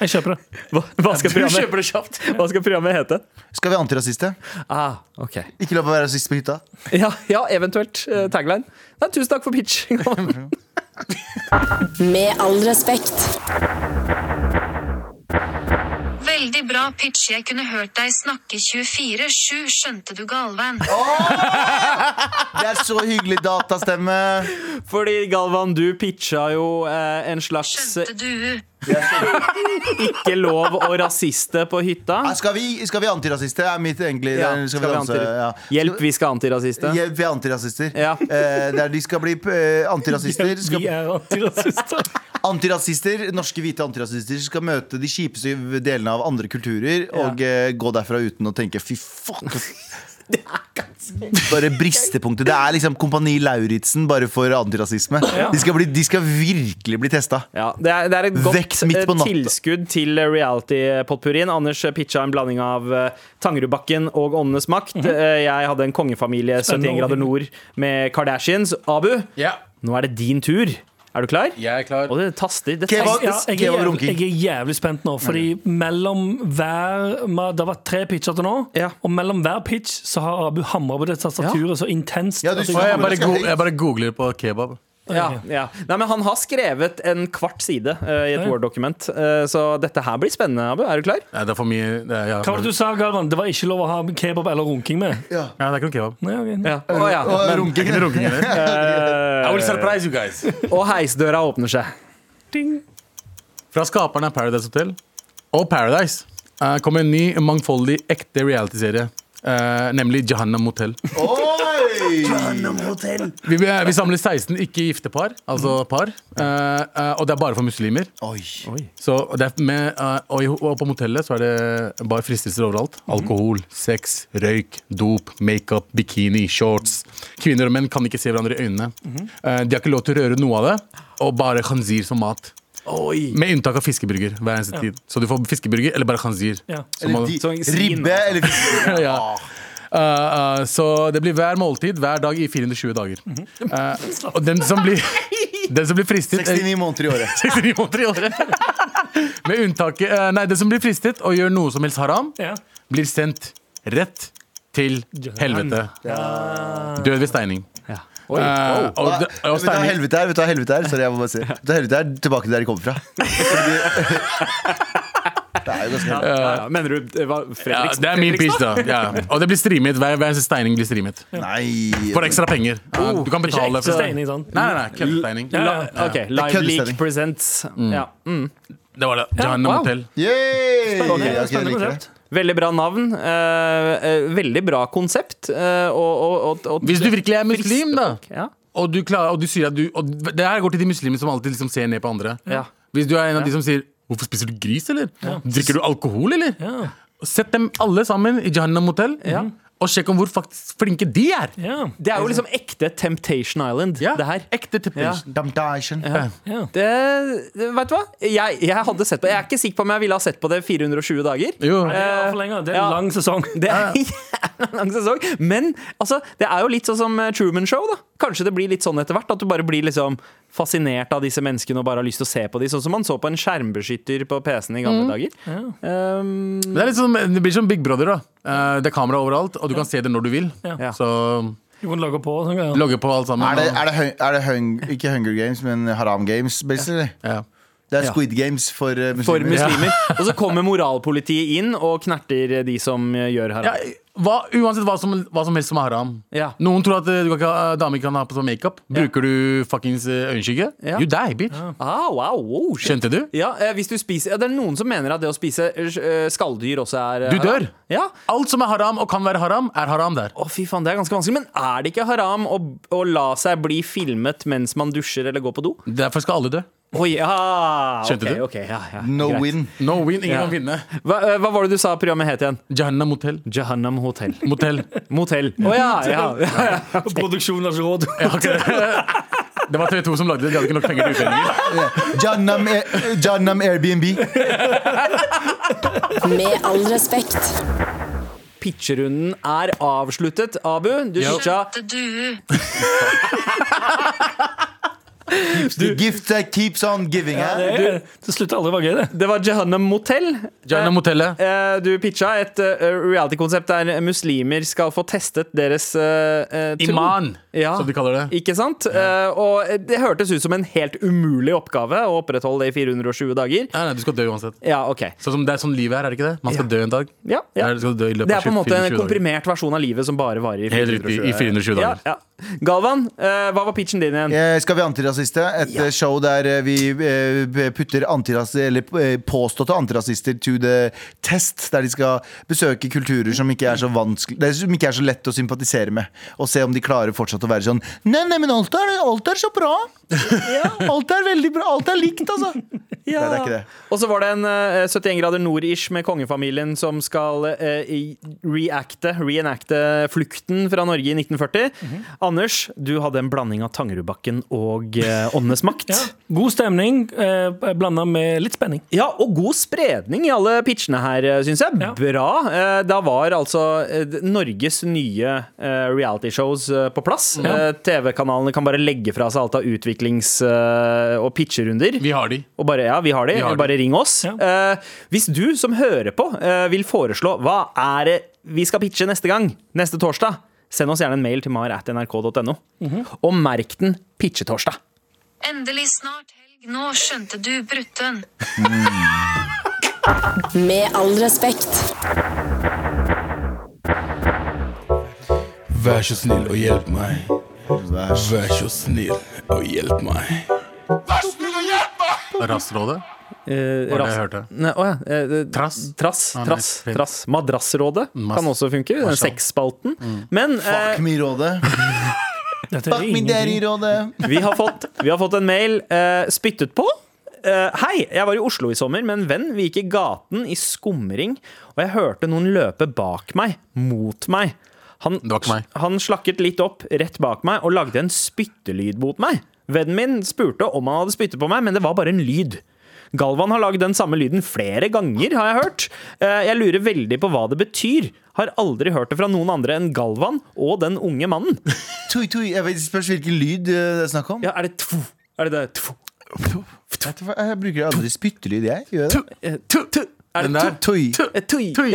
F: Jeg kjøper det.
B: Hva, hva, skal
C: Du
B: programmet,
C: kjøper det kjapt.
B: hva skal programmet hete?
D: Skal vi ha antirasister?
B: Ah, ok
D: Ikke la meg være rasist på hytta.
B: Ja, ja eventuelt. eh, tagline. Nei, tusen takk for pitch.
G: Med all respekt.
E: Veldig bra pitch. Jeg kunne hørt deg snakke 24-7, skjønte du, Galvan?
D: Det er så hyggelig datastemme.
B: Fordi Galvan, du pitcha jo eh, en slags
E: Skjønte du?
B: ikke lov og rasiste på
D: Ja,
B: hytta.
D: skal vi, skal vi antirasister? Er mitt egentlig
B: Ja,
D: det er-
B: skal vi
D: danse?
B: antir-
D: Ja.
B: Hjelp, vi skal antirasiste.
D: Hjelp, vi er antirasister.
B: Ja.
D: Eh, der de skal bli eh, antirasister. Skal
F: Vi er antirasister.
D: Antirasister, norske hvite antirasister skal møte de kjipeste delene av andre kulturer og eh, gå derfra uten å tenke 'fy fuck'. Bare bristepunktet. Det er liksom Kompani Lauritzen bare for antirasisme. De, skal bli, de skal virkelig bli testa.
B: Ja, det, er, det er et godt
D: Vekk midt på
B: eh,
D: natta.
B: tilskudd til eh, reality-potpurrien. Anders eh, pitcha en blanding av eh, Tangerudbakken og Åndenes
F: Mhm.
B: makt. Eh, Jeg hadde en kongefamilie, 71 grader nord, med Kardashians. Abu,
C: Ja.
B: Nå er det din tur. Er du klar?
C: Jeg er klar.
B: Og det taster. Det
D: Kebab.
B: taster.
F: Ja, jeg, er
D: Kebab og
F: jævlig,
D: runking.
F: jeg er jævlig spent nå, fordi mellom hver ma- Det har vært tre pitcher til nå,
B: Ja.
F: og mellom hver pitch så har Abu hamra på det tastaturet så intenst.
D: Ja, du
F: at jeg-
C: Å,
D: sa-
C: jeg, bare go jeg bare googler på kebab.
B: Ja, ja. Nei, men han har skrevet en kvart side eh, i et
F: Ja.
B: Word-dokument, eh, så dette her blir spennende, Abu. Er du klar?
C: Nei, det er for mye det er, ja,
F: Hva var det du sa, Galvan? Det var ikke lov å ha kebab eller runking med?
C: Ja, det er ikke noe kebab.
F: Nei, ok.
B: Ja. Å, ja.
D: Og runking.
C: Ikke noe runking heller. I will surprise you guys.
B: Og heisdøra åpner seg.
F: Ding.
C: Fra skaperne av Paradise Hotel og Paradise eh, kom en ny, mangfoldig, ekte realityserie. eh, nemlig Jahannam Hotel.
D: Oi!
C: Vi, vi, vi samler 16 ikke-gifte par, altså par. eh, eh, og det er bare for muslimer.
D: Mm. Oi.
C: Så det er med, eh, og, i, og på motellet så er det bare fristelser overalt.
D: Mm.
C: Alkohol, sex, røyk, dop, makeup, bikini, shorts. Kvinner og menn kan ikke se hverandre i øynene.
D: Mhm.
C: Eh, de har ikke lov til å røre noe av det, og bare khanzir som mat. Med unntak av fiskeburger hver eneste tid. Så du får fiskeburger eller bare khanzir.
F: Ja.
C: Så må-
D: Eller
B: sånn
D: di-
B: svin,
D: ribbe
C: altså.
D: eller fisk.
C: ja. Eh, eh, så det blir hver måltid hver dag i 420 dager. Eh, og den som blir, den som blir fristet
D: 69 måneder i året.
C: 69 måneder i året. Med unntaket eh, Nei, den som blir fristet og gjør noe som helst haram,
F: Ja.
C: blir sendt rett til helvete. Død ved steining.
B: Oi.
C: Eh,
B: Wow.
C: og, d-
D: Hva-
C: og
D: Vet du hva
C: steining
D: helvete er? Vet du hva helvete er? Sorry, jeg må bare si. Vet du hva helvete er? Tilbake til der de kommer fra. Det er jo ganske helvete.
B: Ja, ja. Eh, Mener du det var
C: ja,
B: Fredriksen?
C: det er min pitch, da. Ja. Og det blir streamet. Hver, hver eneste steining blir streamet.
D: Nei.
C: For ekstra penger. Ja, du kan
F: Oh, Ikke
C: betale
F: ekte
C: for
F: steining, sånn.
C: Nei, nei, nei. køddesteining.
F: Ja, ja,
B: La- Ok, Live
D: Køddestemning.
B: Leak Presents. Ja. Mm.
C: Det var det. Jahannam
B: wow.
C: Hotel.
D: Yay!
F: ja.
D: Ok, jeg
F: Spennende
D: liker
F: konsept.
D: det.
B: Veldig bra navn. eh, eh, veldig bra konsept. eh, og, og, og, og
C: Hvis du virkelig er muslim, da,
B: ja.
C: og du, klarer, og du sier at du og Det her går til de muslimene som alltid liksom ser ned på andre.
B: Ja.
C: Hvis du er en av de som sier 'Hvorfor spiser du gris, eller? Drikker du alkohol, eller?'
F: Ja.
C: Sett dem alle sammen i Jahannam Hotel, og sjekk om hvor faktisk flinke de er.
F: Ja.
B: Det er jo liksom ekte Temptation Island, det her.
C: Ekte temptation.
D: Damtation.
B: Det, det, vet du hva? Jeg, jeg hadde sett på Jeg er ikke sikker på om jeg ville ha sett på det 420 dager.
C: Jo.
F: Det er Eh, for lenge. Det er
B: Ja.
F: en lang sesong.
B: Det er en lang sesong. Men altså, det er jo litt sånn som eh, Truman Show. da Kanskje det blir litt sånn etter hvert. At du bare blir liksom fascinert av disse menneskene og bare har lyst til å se på dem. Sånn som man så på en skjermbeskytter på PC-en i gamle dager. Um,
C: Men Det, er litt som, det blir som Big Brother. da Eh, Det er kamera overalt, og du kan se det når du vil.
F: Ja.
C: Så
F: Du kan logge på og sånn greier.
C: logge på alt sammen.
D: Er det,
C: og-
D: er det, hun- er det hun- ikke Hunger Games, men Haram Games, basically?
C: ja.
D: Det er Squid Games for eh, muslimer.
B: for muslimer. Og så kommer moralpolitiet inn og knerter de som eh, gjør
C: Ja,
B: haram.
C: hva, uansett hva som, hva som helst som er haram.
B: Ja.
C: Noen tror at eh, du kan ikke ha, damer ikke kan ha på sånn makeup. Bruker du fuckings eh, øyenskygge?
B: Ja.
C: You die, bitch.
B: Ah, wow, wow, shit.
C: Skjønte du?
B: Ja, eh, hvis du spiser ja, Det er noen som mener at det å spise eh, skalldyr også er eh,
C: Du dør.
B: haram. Ja.
C: Alt som er haram og kan være haram, er haram der.
B: Å, fy faen, det er ganske vanskelig. Men er det ikke haram å, å la seg bli filmet mens man dusjer eller går på do?
C: Derfor skal alle dø.
B: Å ja!
C: Skjønte
B: ok,
C: du?
B: ok, ja, ja,
D: No
B: greit.
D: win.
C: No win, ingen
B: Ja.
C: kan vinne.
B: Hva, eh, hva var det du sa programmet het igjen?
C: Jahannam Hotel.
B: Jahannam Hotel.
C: Motel.
B: Motell. Å ja, ja, ja.
F: Produksjonen har ikke råd.
C: Jeg har ikke det. Det var TV2 som lagde det. De hadde ikke nok penger til utlendinger.
D: Jannam, Air- Jannam Airbnb.
G: Med all respekt.
B: Pitcherunden er avsluttet. Abu, du
C: Ja.
B: pitcha
E: Du.
D: The gift that keeps on giving. eh?
F: Det, det slutter aldri å være gøy, det.
B: Det var Jahannam Motel.
C: Jahannam Hotellet.
B: Eh, Du pitcha et eh, reality-konsept der muslimer skal få testet deres eh, eh, tro.
C: Iman,
B: Ja.
C: som de kaller det.
B: Ikke sant? Eh, og det hørtes ut som en helt umulig oppgave å opprettholde det i 420 dager.
C: Nei, nei, du skal dø uansett.
B: Ja, ok.
C: Sånn som det er sånn livet er, er det ikke det? Man skal dø en dag.
B: Ja, ja.
C: Nei, du skal dø i løpet
B: Det er på en
C: av
B: måte en
C: 24 dager.
B: komprimert versjon av livet som bare varer i
C: Helt
B: 420,
C: riktig. I 420
B: Ja,
C: dager.
B: ja. Galvan, eh, hva var pitchen din igjen?
D: Eh, Skal vi antirasiste? Et eh, show der eh, vi eh, putter antiras- eller, eh, påståtte antirasister to the test. Der de skal besøke kulturer som ikke er så vanskelig det er- Som ikke er så lett å sympatisere med. Og se om de klarer fortsatt å være sånn Nei, nei, men alt er, alt er så bra.
H: Alt er veldig bra. Alt er likt, altså.
D: Nei, det er ikke det.
B: Og så var det en eh, 71 grader nord-ish med kongefamilien som skal eh, i- reacte, reenacte flukten fra Norge i 1940.
C: Mhm.
B: Anders, du hadde en blanding av Tangerudbakken og eh, Åndenes makt.
F: Ja. God stemning eh, blanda med litt spenning.
B: Ja, og god spredning i alle pitchene her, syns jeg.
F: Ja.
B: Bra. Eh, Da var altså eh, Norges nye eh, realityshows eh, på plass. Eh, TV-kanalene kan bare legge fra seg alt av utviklings- eh, og pitcherunder.
C: Vi har de.
B: Og bare, ja, vi har de.
C: Vi har de.
B: bare ring oss.
F: Ja.
B: Eh, hvis du som hører på eh, vil foreslå hva er det vi skal pitche neste gang, neste torsdag, send oss gjerne en mail til mar.nrk.no.
C: Mhm.
B: Og merk den pitchetorsdag.
E: Endelig snart helg. Nå skjønte du brutten.
G: Med all respekt.
C: Vær så snill og hjelp meg.
D: Vær så-
C: Vær så snill og hjelp meg. Rassrådet?
B: Eh,
C: Var det
B: ras-
C: jeg hørte?
B: Nei, å ja. eh, eh,
C: Trass?
B: Trass.
C: Ah, nei,
B: trass,
C: fint.
B: trass. Madrassrådet
C: Mas- Mm.
B: kan også funke. Den
C: Marshall.
B: sexspalten. Men eh,
D: Fuck me-rådet.
F: Dette
D: Fuck me daddy-rådet.
B: vi, har fått, vi har fått en mail eh, spyttet på. Eh, hei, jeg var i Oslo i sommer med en venn. Vi gikk i gaten i skumring, og jeg hørte noen løpe bak meg, mot meg. Han,
C: Det var ikke meg.
B: han slakket litt opp rett bak meg og lagde en spyttelyd mot meg. Vennen min spurte om han hadde spyttet på meg, men det var bare en lyd. Galvan har lagd den samme lyden flere ganger, har jeg hørt. Eh, Jeg lurer veldig på hva det betyr. Har aldri hørt det fra noen andre enn Galvan og den unge mannen.
D: Tui, tui. Jeg vet ikke spørs hvilken lyd eh, det er snakk om.
B: Ja, er det tvo? Er det det tvo?
D: Jeg vet ikke hva- Jeg bruker aldri spyttelyd, jeg. Gjør jeg det?
B: Eh, tu- tu- Er
C: Den
B: det
C: der?
D: Tui.
B: Eh, tui?
D: Tui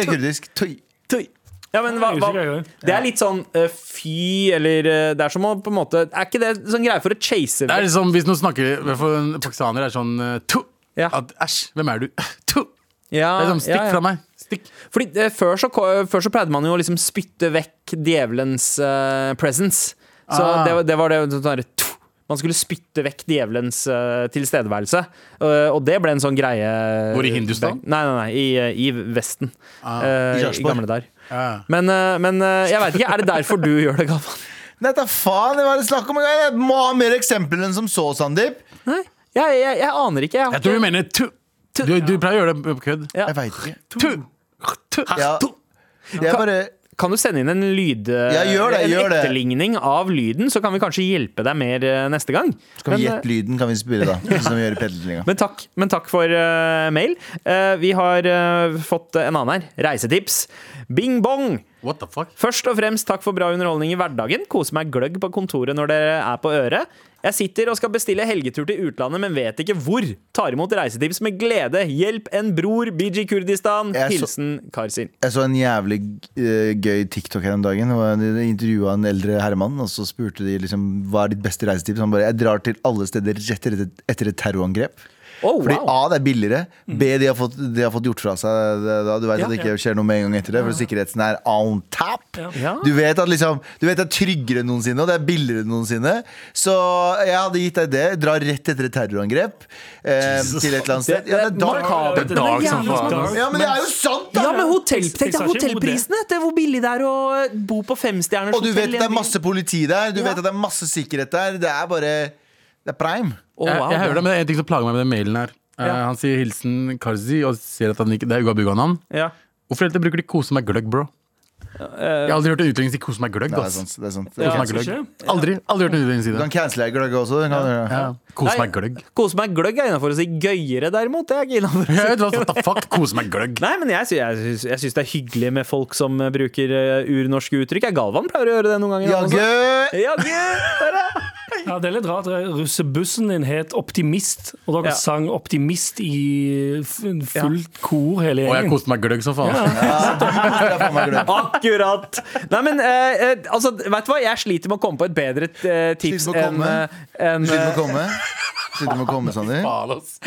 D: er kurdisk. Tui.
B: Tui. Ja, men hva,
F: Jeg er usikker, jeg
B: hva
F: òg.
B: Det er litt sånn eh, fy, eller eh, Det er som å på en måte Er ikke det sånn greie for å chase
C: Det er
B: vekk?
C: liksom, hvis noen snakker For en pakistaner er sånn eh, tu.
B: Ja.
C: At, Æsj, hvem er du? Tu.
B: Ja,
C: Det er sånn, Stikk
B: ja, ja.
C: fra meg. Stikk.
B: Fordi eh, før, så, ko- før så pleide man jo å liksom spytte vekk djevelens eh, presence. Så
C: Ah.
B: det, var- det var det sånn der, tuff. Man skulle spytte vekk djevelens eh, tilstedeværelse. Eh, og det ble en sånn greie
C: Hvor i Hindustan? Ah,
B: Nei, nei, nei i, eh, i Vesten. Eh,
D: I
B: I,
D: Sarpsborg.
B: gamle der.
C: Ja.
B: Men, eh, men eh, jeg veit ikke. Er det derfor du gjør det, Galvan?
D: Nei, da faen, det var det snakk om. Jeg må ha mer eksempler enn som så, Sandeep.
B: Nei, jeg, jeg, jeg aner ikke. Jeg, har
C: Jeg tror
B: ikke-
C: du mener tu. Du, du pleier å gjøre det på kødd.
B: Ja.
D: Jeg veit ikke.
C: Tu. Tu.
D: Ja.
C: Tu.
D: Det er bare
B: Kan du sende inn en lyd eh,
D: Ja, gjør det,
B: En
D: gjør det.
B: etterligning av lyden, så kan vi kanskje hjelpe deg mer eh, neste gang.
D: Skal vi
B: Men, eh,
D: gjette lyden, kan vi spille, da? Sånn som vi gjør i Petterlinga.
B: Men takk, men takk for eh, mail. Eh, vi har eh, fått en annen her. Reisetips. Bing bong!
C: What the fuck?
B: Først og fremst takk for bra underholdning i hverdagen. Kose meg gløgg på kontoret når dere er på øret. Jeg sitter og skal bestille helgetur til utlandet, men vet ikke hvor. Tar imot reisetips med glede. Hjelp en bror, BG Kurdistan.
D: Jeg så-
B: Hilsen Karsin.
D: Jeg så en jævlig eh, gøy TikTok her om dagen. og De intervjua en eldre herremann, og så spurte de liksom, hva er ditt beste reisetips. Han bare 'Jeg drar til alle steder rett etter, etter et terrorangrep'.
B: Oh,
D: Fordi
B: wow. Mm.
D: A, det er billigere. B, de har fått, de har fått gjort fra seg det, da. Du vet
B: Ja,
D: at det ikke skjer noe med en gang etter det, for sikkerheten er on tap.
B: Ja.
D: Du vet at liksom, du vet det er tryggere enn noensinne, og det er billigere enn noensinne. Så jeg hadde gitt deg det. Dra rett etter et terrorangrep eh, til et eller annet
B: Det,
D: sted. Ja, det er dark.
B: makabert.
C: Det er dark som
B: jævla
C: faen,
B: smart.
C: ass.
D: Ja, men det er jo sant, da!
B: Ja, men hotell, tenk deg
F: Pixar skjer mot det.
B: hotellprisene! Det er hvor billig det er å bo på femstjerners
D: Og du vet
B: hotell i
D: at det
B: en
D: er
B: by.
D: masse politi der, du
B: Ja.
D: vet at det er masse sikkerhet der. Det er bare Det er prime.
B: Å,
C: jeg,
B: wow,
C: jeg
B: det-
C: hører det, men det er en ting som plager meg med den mailen her. Eh,
B: Ja.
C: han sier hilsen Karzi og ser at han ikke, det er Ugabuga-navn.
B: Ja.
C: Hvorfor heller bruker de 'kose meg gløgg', bro? jeg har aldri hørt en utlending si 'kose meg gløgg'.
D: Nei, det er
C: ass.
D: sant. Det er sant.
B: Eh, Ja. sånn
C: Kose meg
F: altså,
C: gløgg.
F: ikke?
C: Aldri, aldri hørt en utlending si
D: Du
C: det.
D: kan cancele gløgg også. du Kan, ja.
C: Ja. Kose
B: Nei.
C: meg gløgg.
B: Kose meg gløgg er innafor å si gøyere, derimot. Det er ikke innenfor å si.
C: Jeg vet hva, what the fuck, kose meg gløgg.
B: Nei, men jeg, sy- jeg, syns- jeg syns det er hyggelig med folk som eh, bruker eh, urnorske uttrykk. Jeg, Galvan pleier å gjøre det noen ganger. han også.
D: Jaggu!
B: Ja, gøy, der er-
F: Ja, det er litt rart. Russebussen din het Optimist, og dere
B: Ja.
F: sang Optimist i f- fullt kor hele
C: Og jeg
F: gjengen.
C: koste meg gløgg som faen.
D: Det er faen meg gløgg.
B: Akkurat! Nei, men eh, eh, altså, vet du hva? Jeg sliter med å komme på et bedre eh, tips
D: Sliter med å
B: enn
D: komme.
B: eh, enn,
D: Slutt med
B: eh,
D: å komme. Slutt med å komme, Sander.
C: Faen, ass.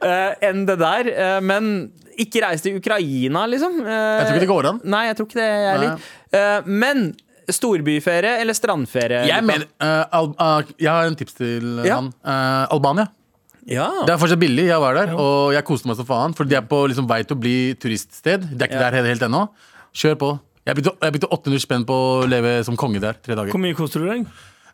B: eh, enn det der. eh, men ikke reise til Ukraina, liksom. Eh,
C: Jeg tror ikke det går an.
B: Nei, jeg tror ikke det jeg heller. Eh, men storbyferie eller strandferie?
C: Jeg,
B: Luka?
C: mener, eh, Al eh, jeg har en tips til eh,
B: Ja.
C: han. Eh, Albania.
B: ja.
C: Det er fortsatt billig. Jeg var der, og jeg koste meg som faen. For de er på liksom, vei til å bli turiststed. De er ikke
B: Ja.
C: der helt ennå. Kjør på. Jeg brukte jeg brukte 800 spenn på å leve som konge der. Tre dager.
F: Hvor mye koste du deg?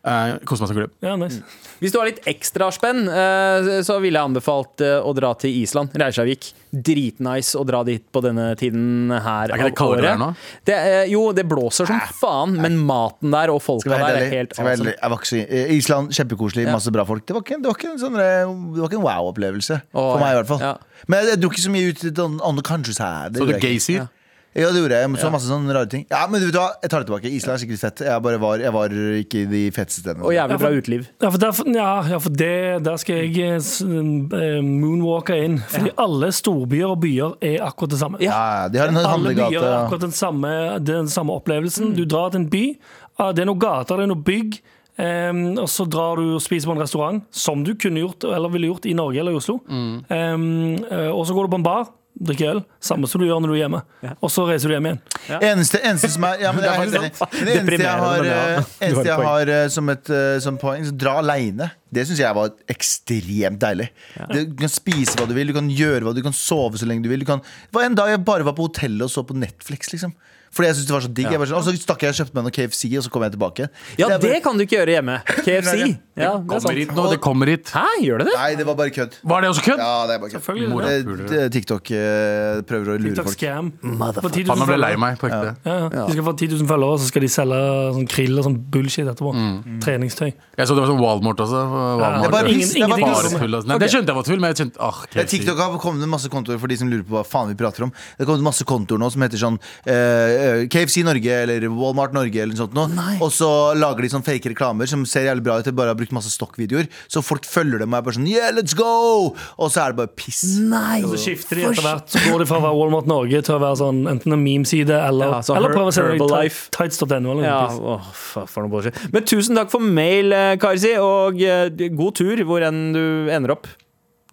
C: Eh, Kosmosa-klubb.
F: Ja, nice.
B: Hvis du har litt ekstraspenn, eh, så ville jeg anbefalt eh, å dra til Island. Reykjavik. Dritnice å dra dit på denne tiden her.
C: Er ikke
B: av
C: det
B: året.
C: kaldere der nå?
B: Det, eh, jo, det blåser som faen, men maten der og folka
D: Skal vi
B: der
D: være helt
B: er
D: ærlig?
B: helt
D: Skal vi være
B: awesome.
D: ærlig? Jeg var ikke så- eh, Island, kjempekoselig, masse bra folk. Det var ikke, det var ikke en, sånn, eh, det var ikke en wow-opplevelse.
B: Åh,
D: For meg, i hvert fall.
B: ja.
D: Men jeg dro ikke så mye ut til an- andre countries her.
C: Så
D: Det
C: du
D: gjorde jeg ikke.
C: gaysir?
D: Ja, det gjorde jeg. Så masse sånne rare ting. Ja, men vet du hva? Jeg tar det tilbake. Island er sikkert fett. Jeg, bare var, jeg var ikke i de feteste stedene.
B: Og
F: Ja,
B: jævlig
F: for-
B: bra uteliv.
F: Ja, for der, ja, ja, for det, der skal jeg eh, s- eh, moonwalke inn. Fordi alle storbyer og byer er akkurat det samme.
D: Ja, de har en
F: Alle byer har
D: handlegate.
F: akkurat den samme, den samme opplevelsen. Du drar til en by, ah, det er noen gater, det er noen bygg, em, og så drar du og spiser på en restaurant, som du kunne gjort, eller ville gjort i Norge eller i Oslo.
C: Mm.
F: Em, eh, og så går du på en bar, drikker øl, samme som du gjør når du er hjemme. Og så reiser du hjem igjen.
D: Eneste, eneste som er, ja, men jeg er helt enig. Men det eneste jeg har,
B: Deprimerende, men ja.
D: eh,
B: Du har
D: eneste
B: et
D: jeg
B: poeng.
D: har eh, som et eh, som poeng, så dra aleine. Det syns jeg var ekstremt deilig. Du kan spise hva du vil, du kan gjøre hva du kan sove så lenge du vil. Du kan, det var en dag jeg bare var på hotellet og så på Netflix, liksom. Fordi jeg syntes det var så digg. Jeg bare sånn, og så stakk jeg og kjøpte meg noe KFC, og så kom jeg tilbake.
B: Ja,
D: er bare,
B: det kan du ikke gjøre hjemme. KFC. Ja, det er
C: Kommer
B: sant.
C: hit nå, det kommer hit.
B: Hæ, gjør det det?
D: Nei, det var bare kødd.
C: Var det også kødd?
D: Ja, det er bare kødd.
F: Selvfølgelig.
D: Eh,
C: Morapuler.
D: d- TikTok eh, prøver å lure
F: Takk
D: folk.
F: scam.
C: Faen,
F: Han
C: jeg ble lei meg på ekte.
F: Ja, ja. De skal få 10 000 følgere, så skal de selge sånn krill og sånn bullshit etterpå.
C: Mm.
F: Treningstøy.
C: Jeg så det var sånn Walmart også. Walmart.
D: Det er bare
F: Ingen-
D: piss. Det er bare
F: ingenting
D: piss.
C: Bare tull, altså. Nei, det skjønte jeg var tull, men jeg kjente ah,
D: Ja,
C: KFC.
D: TikTok har kommet med masse kontoer for de som lurer på hva faen vi prater om. Det kommer masse kontoer nå som heter sånn eh, KFC Norge eller Walmart Norge eller noe sånt. Nå. Og så lager de sånn fake reklamer som ser jævlig bra ut. De bare har brukt masse stokkvideoer. Så folk følger dem og er bare sånn Yeah, let's go! Og så er det bare piss.
B: Nei!
F: Så skifter de etter hvert. Så går de fra å være Walmart Norge til å være sånn enten en memeside eller,
B: Ja, så
F: eller
B: Her-
F: prøve å selge deg
B: Herbalife.
F: tight- tights.no. eller noe
B: Ja,
F: piss.
B: åh, fa- for noe bullshit. Men tusen takk for mail, eh, Karsi, og eh, god tur hvor enn du ender opp.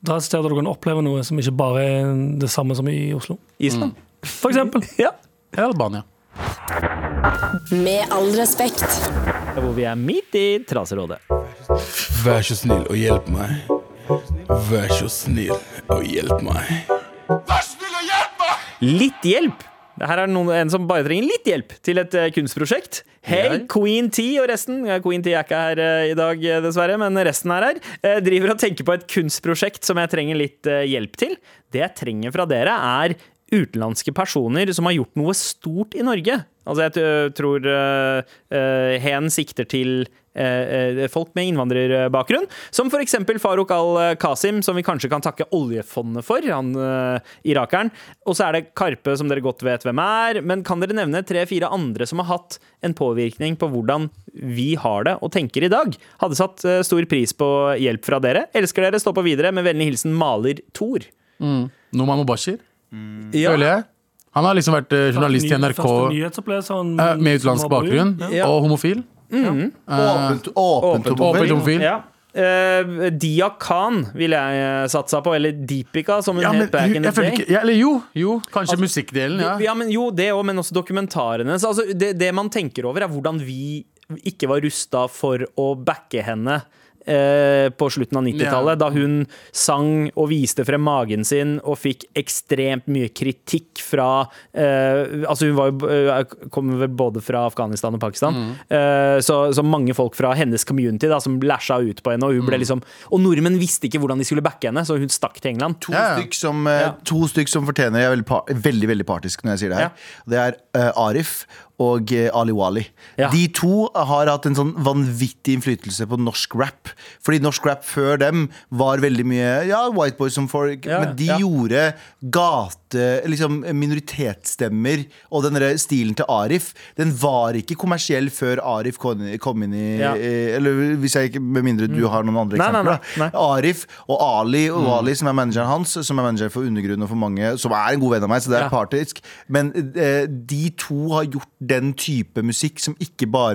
F: Dra et sted der du kan oppleve noe som ikke bare er det samme som i Oslo.
B: Island.
F: For eksempel.
B: Ja.
C: Ja, Albania.
G: Med all respekt.
B: Hvor vi er midt i Traserådet.
I: Vær så snill og hjelp meg. Vær så snill og hjelp meg.
B: Litt hjelp! Her er noen, en som bare trenger litt hjelp til et eh, kunstprosjekt. Hei, Queen T og resten. Ja, Queen T er ikke her eh, i dag, eh, dessverre, men resten er her. eh, driver og tenker på et kunstprosjekt som jeg trenger litt eh, hjelp til. Det jeg trenger fra dere, er utenlandske personer som har gjort noe stort i Norge. Altså, jeg t- tror eh, eh, Hen sikter til eh, eh, folk med innvandrerbakgrunn. Som f.eks. Farouk al-Kasim, som vi kanskje kan takke oljefondet for, han eh, irakeren. Og så er det Karpe, som dere godt vet hvem er. Men kan dere nevne tre-fire andre som har hatt en påvirkning på hvordan vi har det og tenker i dag? Hadde satt eh, stor pris på hjelp fra dere. Elsker dere, stå på videre. Med vennlig hilsen maler Tor.
C: Noman Mubashir, Mm. føler jeg. Han har liksom vært eh, journalist i NRK
F: Første nyhetsopplevelse, han-
C: eh, med utenlandsk
F: sånn- som var brun.
C: bakgrunn
F: Ja.
C: og homofil. Eh,
D: Åpent, åpent,
B: Mm. åpent
C: Åpent
D: homofil.
C: homofil.
B: Ja. Eh, Dia Khan ville jeg eh, satsa på, eller Deepika, som hun
C: Ja, men
B: het back
C: hu-
B: in the
C: jeg
B: day.
C: føler
B: Altså,
C: ikke ja, Eller jo, jo. Kanskje musikkdelen,
B: Ja.
C: ja.
B: men jo, det òg, men også dokumentarene. Så, altså, det, det man tenker over, er hvordan vi ikke var rusta for å backe henne. eh, På slutten av 90-tallet, da hun sang og viste frem magen sin og fikk ekstremt mye kritikk fra eh, Altså, hun var jo eh, kom vel både fra Afghanistan og Pakistan, Eh, så, så mange folk fra hennes community da som lasha ut på henne, og hun ble liksom Og nordmenn visste ikke hvordan de skulle backe henne, så hun stakk til England.
D: To,
C: Ja, ja.
D: Stykk som, eh, to stykk som fortjener Jeg er veldig, par, veldig, veldig partisk når jeg sier det her. Det er eh, Arif og eh, Ali Wali.
B: Ja.
D: De to har hatt en sånn vanvittig innflytelse på norsk rap. Fordi norsk rap før dem var veldig mye Ja, white boys som folk,
B: Ja,
D: men de
B: ja.
D: gjorde gate Liksom minoritetsstemmer og den derre stilen til Arif. Den var ikke kommersiell før Arif kom kom inn i
B: Ja. Mm.
D: eh, Eller hvis jeg ikke Med mindre du har noen andre
B: Nei, nei,
D: eksempler.
B: nei,
D: da. Arif og Ali og
B: Mm.
D: Ali, som er manageren hans, som er manager for Undergrunnen og for mange, som er en god venn av meg, så det er
B: Ja.
D: partisk. Men eh, de to har gjort den type musikk som ikke bare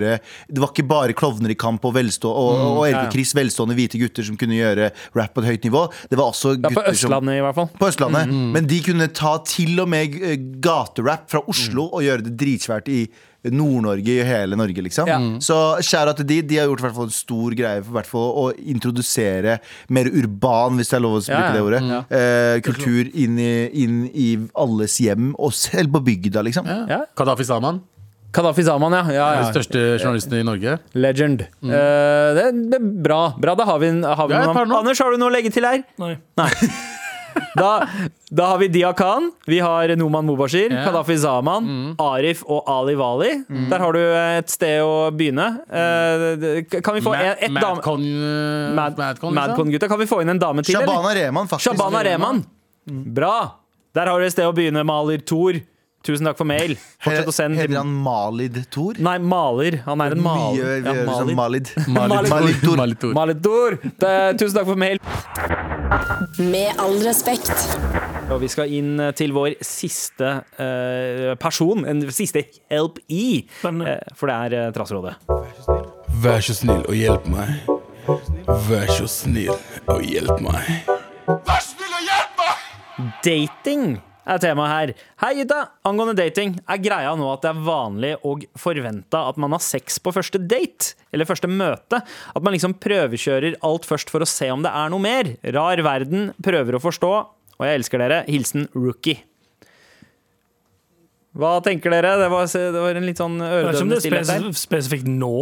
D: Det var ikke bare klovner i kamp og, velstå, og,
B: Mm,
D: og Erik og Chris, velstående hvite gutter som kunne gjøre rap på et høyt nivå. Det var også
B: Ja, på
D: gutter som
B: Østlandet, i hvert fall.
D: på Østlandet. Men de kunne ta til og med eh, gaterap fra Oslo og gjøre det dritsvært i Nord-Norge, i hele Norge, liksom.
B: Ja.
D: Så kjære til de. De har gjort i hvert fall en stor greie for i hvert fall å introdusere mer urban, hvis det er lov å bruke
B: Ja, ja.
D: det ordet, eh, kultur inn i, inn i alles hjem, og selv på bygda, liksom.
C: ja. Kadafi Saman.
B: Kadafi Zaman, ja. ja, ja.
C: Den største journalisten i Norge.
B: Legend. Eh, det er bra. bra. Da har vi, har vi
C: Ja, jeg
B: noen.
C: tar noen.
B: Anders, har du noe å legge til her?
F: Nei.
B: Da, da har vi Dia Khan, vi har Noman Mubashir,
C: Ja.
B: Kadafi Zaman, Arif og Ali Wali. Der har du et sted å begynne. Eh, det- kan vi få en, et dame...
C: eh,
B: Mad-
C: Madcon.
B: Madcon-gutta. Kan vi få inn en dame til? eller?
D: Shabana Rehman, faktisk.
B: liksom. Shabana Mm. Rehman. Bra! Der har du et sted å begynne, maler Thor. Tusen takk for mail. Fortsett å sende
D: Heter
B: til
D: han Malid Thor?
B: Nei, maler. Han er en maler.
D: Mye vi
B: Ja,
D: gjør som
B: maler.
D: Malid.
B: Malid.
D: Malid Thor.
B: Maler Thor. Det, tusen takk for mail.
G: Med all respekt.
B: Og vi skal inn eh, til vår siste eh, person. En siste help i.
F: Spennende.
B: Eh, for det er eh, Trassrådet.
J: Vær så snill og hjelp meg. Vær så snill og hjelp meg.
B: Dating er temaet her. Hei, gutta. Angående dating, er greia nå at det er vanlig og forventa at man har sex på første date? Eller første møte? At man liksom prøvekjører alt først for å se om det er noe mer? Rar verden. Prøver å forstå. Og jeg elsker dere. Hilsen rookie. Hva tenker dere? Det var, det var en litt sånn
F: Jeg vet ikke om
B: øredøvende
F: det er
B: stillhet der.
F: spes spesifikt nå.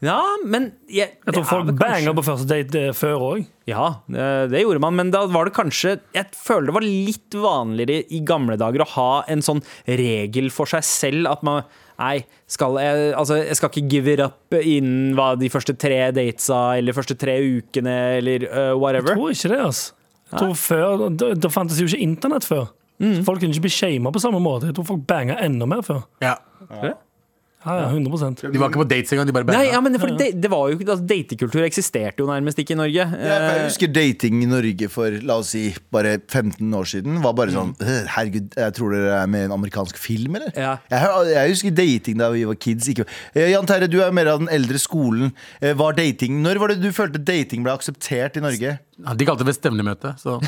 B: Ja, men jeg,
F: Jeg tror folk banger på første date eh, før òg.
B: Ja, det det gjorde man, men da var det kanskje Jeg føler det var litt vanligere i gamle dager å ha en sånn regel for seg selv at man Nei, skal jeg, altså, jeg skal ikke give it up innen hva de første tre datesa eller første tre ukene eller øh,
F: Jeg
B: whatever.
F: tror ikke det, altså. Jeg tror før, da, da fantes jo ikke internett før. Så Folk kunne ikke bli shama på samme måte. Jeg tror folk banga enda mer før.
C: Ja.
F: Ja, ja, 100
C: De var ikke på dates engang. De bare
B: Nei,
C: banga.
B: ja, men for det, det var jo ikke altså, Datekultur eksisterte jo nærmest ikke i Norge.
D: Ja, for
B: Eh,
D: Jeg husker dating i Norge for la oss si, bare 15 år siden. var bare sånn «Øh, Herregud, jeg tror dere er med i en amerikansk film, eller?
B: Ja.
D: Jeg, jeg husker dating da vi var kids. Ikke. Eh, Jan Terje, du er mer av den eldre skolen. Eh, Var dating, Når var det du følte dating ble akseptert i Norge?
C: Ja, De kalte det ved stevnemøte. Så.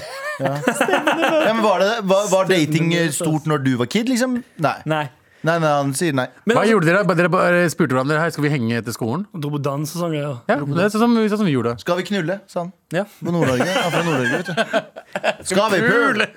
D: Ja, men var, det, var, var dating eh, stort når du var kid, liksom? Nei. Nei,
B: Eh, Nei.
D: nei, han sier nei.
B: Men
C: Hva
B: altså-
C: gjorde dere? Bare- Dere bare spurte hverandre Hei, skal vi henge etter skolen.
F: Dro på dans og sånn greier.
C: Ja, det er sånn som, sånn som vi gjorde.
D: Skal vi knulle, sa han.
B: Ja.
D: På Nord-Norge. Han er fra Nord-Norge, vet du. Skal vi pule?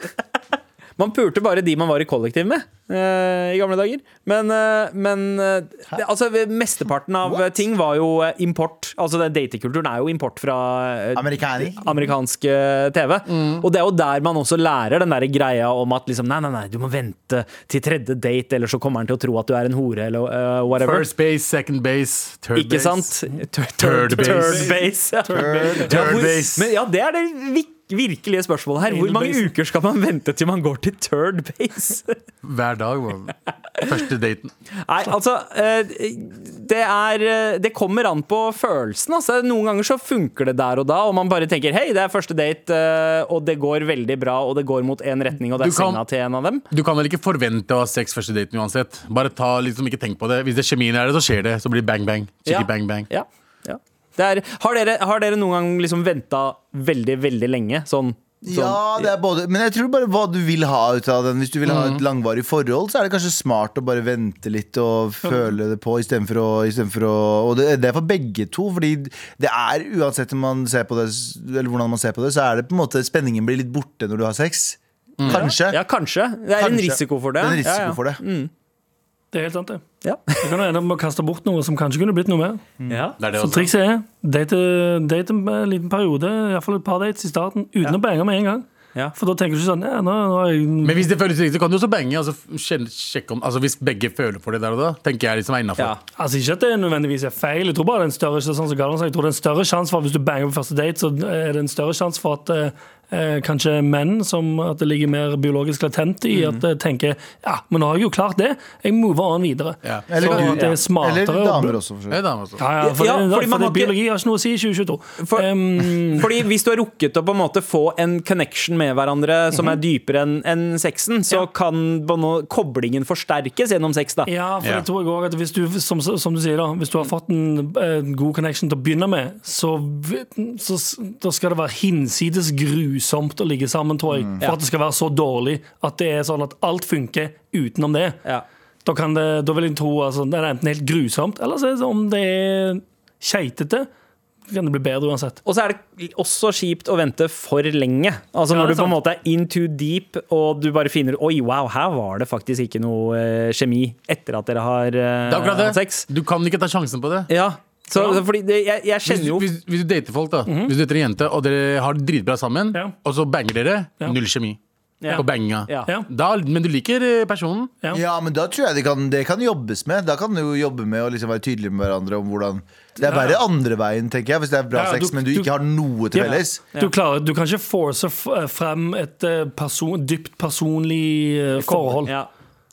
B: Man pulte bare de man var i kollektiv med eh, i gamle dager. Men, eh, men eh, det, altså, ved- mesteparten av eh, ting var jo eh, import. Altså den Datekulturen er jo import fra eh,
D: Amerikaner.
B: amerikansk eh, TV.
C: Mm.
B: Og det er jo der man også lærer den der greia om at liksom, nei, nei, nei, du må vente til tredje date, eller så kommer han til å tro at du er en hore, eller eh, whatever.
C: First base, second base, third
B: Ikke
C: base.
B: sant? Tur- tur-
C: Third base.
B: Third base. ja. Ja,
C: Third
B: hvor-
C: base.
B: Men ja, det er det vik- virkelige spørsmålet her. Hvor
F: Anal
B: mange
F: base.
B: uker skal man vente til man går til third base?
C: Hver dag. var Første daten.
B: Nei, altså eh, det, er, eh, det kommer an på følelsen. Altså. Noen ganger så funker det der og da, og man bare tenker hei, det er første date, eh, og det går veldig bra, og det går mot én retning, og det er
C: Du kan-
B: senga til en av dem.
C: Du kan vel ikke forvente å ha sex første daten uansett. Bare ta, liksom ikke tenk på det Hvis det er kjemien er det, så skjer det. Så blir det bang, bang. Chickie,
B: Ja.
C: bang, bang.
B: Ja, ja. Det er, har, dere, har dere noen gang liksom venta veldig, veldig lenge? Sånn, sånn
D: Ja, det er både Men jeg tror bare hva du vil ha ut av den. Hvis du vil ha et langvarig forhold, så er det kanskje smart å bare vente litt og føle det på istedenfor å, i stedet for å Og det, det er for begge to, fordi det er uansett om man ser på det, s- eller hvordan man ser på det, så er det på en måte Spenningen blir litt borte når du har sex. Kanskje.
B: ja, kanskje. Det er en
D: Kanskje.
B: risiko for det.
D: Det er en risiko
B: ja, Mm. ja.
D: for det.
F: Det er helt sant, det.
B: Ja.
F: Du kan jo ende opp med å kaste bort noe som kanskje kunne blitt noe mer.
B: Ja.
C: Det er det
F: Så
C: også.
F: trikset er date, date en liten periode, iallfall et par dates i starten, uten å bange med en gang.
B: Ja.
F: For da tenker du ikke sånn ja, nå, nå er jeg
C: Men hvis det føles riktig, kan du også bange. Altså, sjen- sjekke om, altså, hvis begge føler for det der og da, tenker jeg liksom er innafor.
B: Ja.
F: Altså Ikke at det nødvendigvis er feil. Jeg tror bare det er en større sånn som Galvan sa, jeg tror det er en større sjanse for at hvis du banger på første date, så er det en større sjanse for at eh, kanskje menn, som at det ligger mer biologisk latent i,
B: Mhm.
F: at eh, tenker ja, men nå har jeg jo klart det, jeg mover on videre.
C: Ja.
F: så
D: Eller du-
F: at det
D: ja.
F: er smartere. å-
D: Eller damer også, for
C: Jeg
D: så vidt.
C: er dame, altså.
F: Ja, ja, for
B: Ja,
F: det,
B: fordi man
F: for det,
B: har ikke-
F: biologi har ikke noe å si i 2022.
B: For-
F: Em,
B: Fordi hvis du har rukket å på en måte få en connection med hverandre som
F: Mhm.
B: er dypere enn enn sexen, så kan på nå- koblingen forsterkes gjennom sex. da
F: Ja, for
C: Ja.
F: det tror jeg også at hvis du, som, som du sier da, hvis du har fått en, en god connection til å begynne med, så, v- så s- da skal det være hinsides grusomt å ligge sammen, tror
C: Mm.
F: jeg. For at det skal være så dårlig at det er sånn at alt funker utenom det.
B: Ja.
F: Da, kan det, da vil jeg tro altså, det er enten helt grusomt, eller så er det sånn, om det er keitete, kan det bli bedre uansett.
B: Og så er det også kjipt å vente for lenge. Altså
F: Ja,
B: Når
F: det er
B: du på en
F: sant.
B: måte er in too deep, og du bare finner Oi, wow, her var det faktisk ikke noe eh, kjemi etter at dere har eh,
C: Det er akkurat
B: hatt
C: det.
B: sex.
C: Du kan ikke ta sjansen på det.
B: Ja, så, så fordi det, jeg, jeg
C: Hvis,
B: kjenner jo Mhm.
C: hvis, hvis du dater folk, da. Hvis du dater en jente, og dere har det dritbra sammen, og så banger dere, null kjemi.
B: Ja.
C: På banginga.
B: Ja.
C: Da, men du liker eh, personen.
D: Ja. men da tror jeg det kan, det kan jobbes med. Da kan du jo jobbe med å liksom være tydelig med hverandre om hvordan Det er verre andre veien, tenker jeg, hvis det er bra
F: Ja,
D: sex,
F: du-
D: men du
F: du-
D: ikke har noe til
F: Ja.
D: felles.
F: Du, klarer, du kan ikke force f- frem et eh, person, dypt personlig eh, forhold.
B: Ja,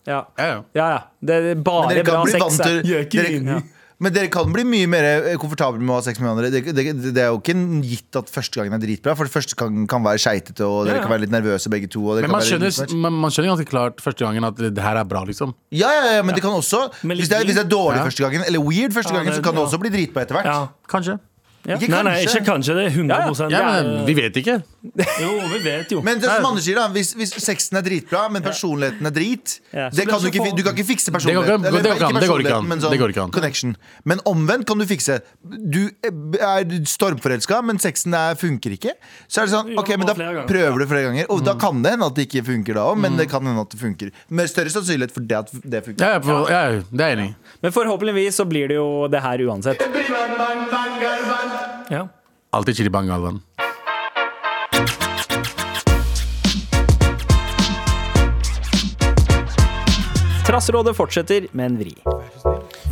B: ja.
C: ja,
B: ja. Det er
D: Men
B: bare
D: dere
B: bra
D: kan bli
B: sex. eh,
D: vant
B: er-
D: til dere, Men dere kan bli mye mer eh, komfortable med å ha sex med hverandre. Det, det, det er jo ikke gitt at første gangen er dritbra, for det første kan, kan være skeitete, og dere
C: Ja, ja.
D: kan være litt nervøse begge to. Og dere
C: Men man
D: kan være litt
C: skjønner,
D: mismatch.
C: man, man skjønner ganske klart første gangen at det her er bra, liksom.
D: Ja, ja, ja, men det kan også hvis det, er, hvis det er dårlig
C: Ja.
D: første gangen, eller weird første
C: Ja,
D: gangen,
C: det-
D: så kan det
C: ja.
D: også bli dritbra etter hvert.
C: Ja. Kanskje.
D: Ja. Ikke
F: Nei, nei, ikke kanskje. Det er 100
C: Ja,
F: Det er-
C: men vi vet ikke.
F: Jo, vi vet jo.
D: Men det
C: altså-
D: er som Anders sier, da. Hvis, hvis sexen er dritbra, men personligheten er drit
F: Ja. Så
D: det kan du,
F: det er så
D: ikke,
F: få-
D: du kan ikke fikse
C: Det går ikke an,
D: personligheten. Eller
C: det går ikke an, det går ikke an,
D: personligheten, men sånn
C: det går ikke an.
D: Connection. Men omvendt kan du fikse. Du eh, er stormforelska, men sexen er, funker ikke. Så er det sånn, ok, men da
F: flere ganger.
D: prøver du flere ganger. Og da
C: Mm.
D: kan det hende at det ikke funker da òg, men det kan hende at det funker. Med større sannsynlighet for det at det funker.
C: Ja, ja, for- ja, ja, det er jeg enig i.
B: Men forhåpentligvis så blir det jo det her uansett.
C: Alltid chili bang Galvan.
B: Trassrådet fortsetter med en vri.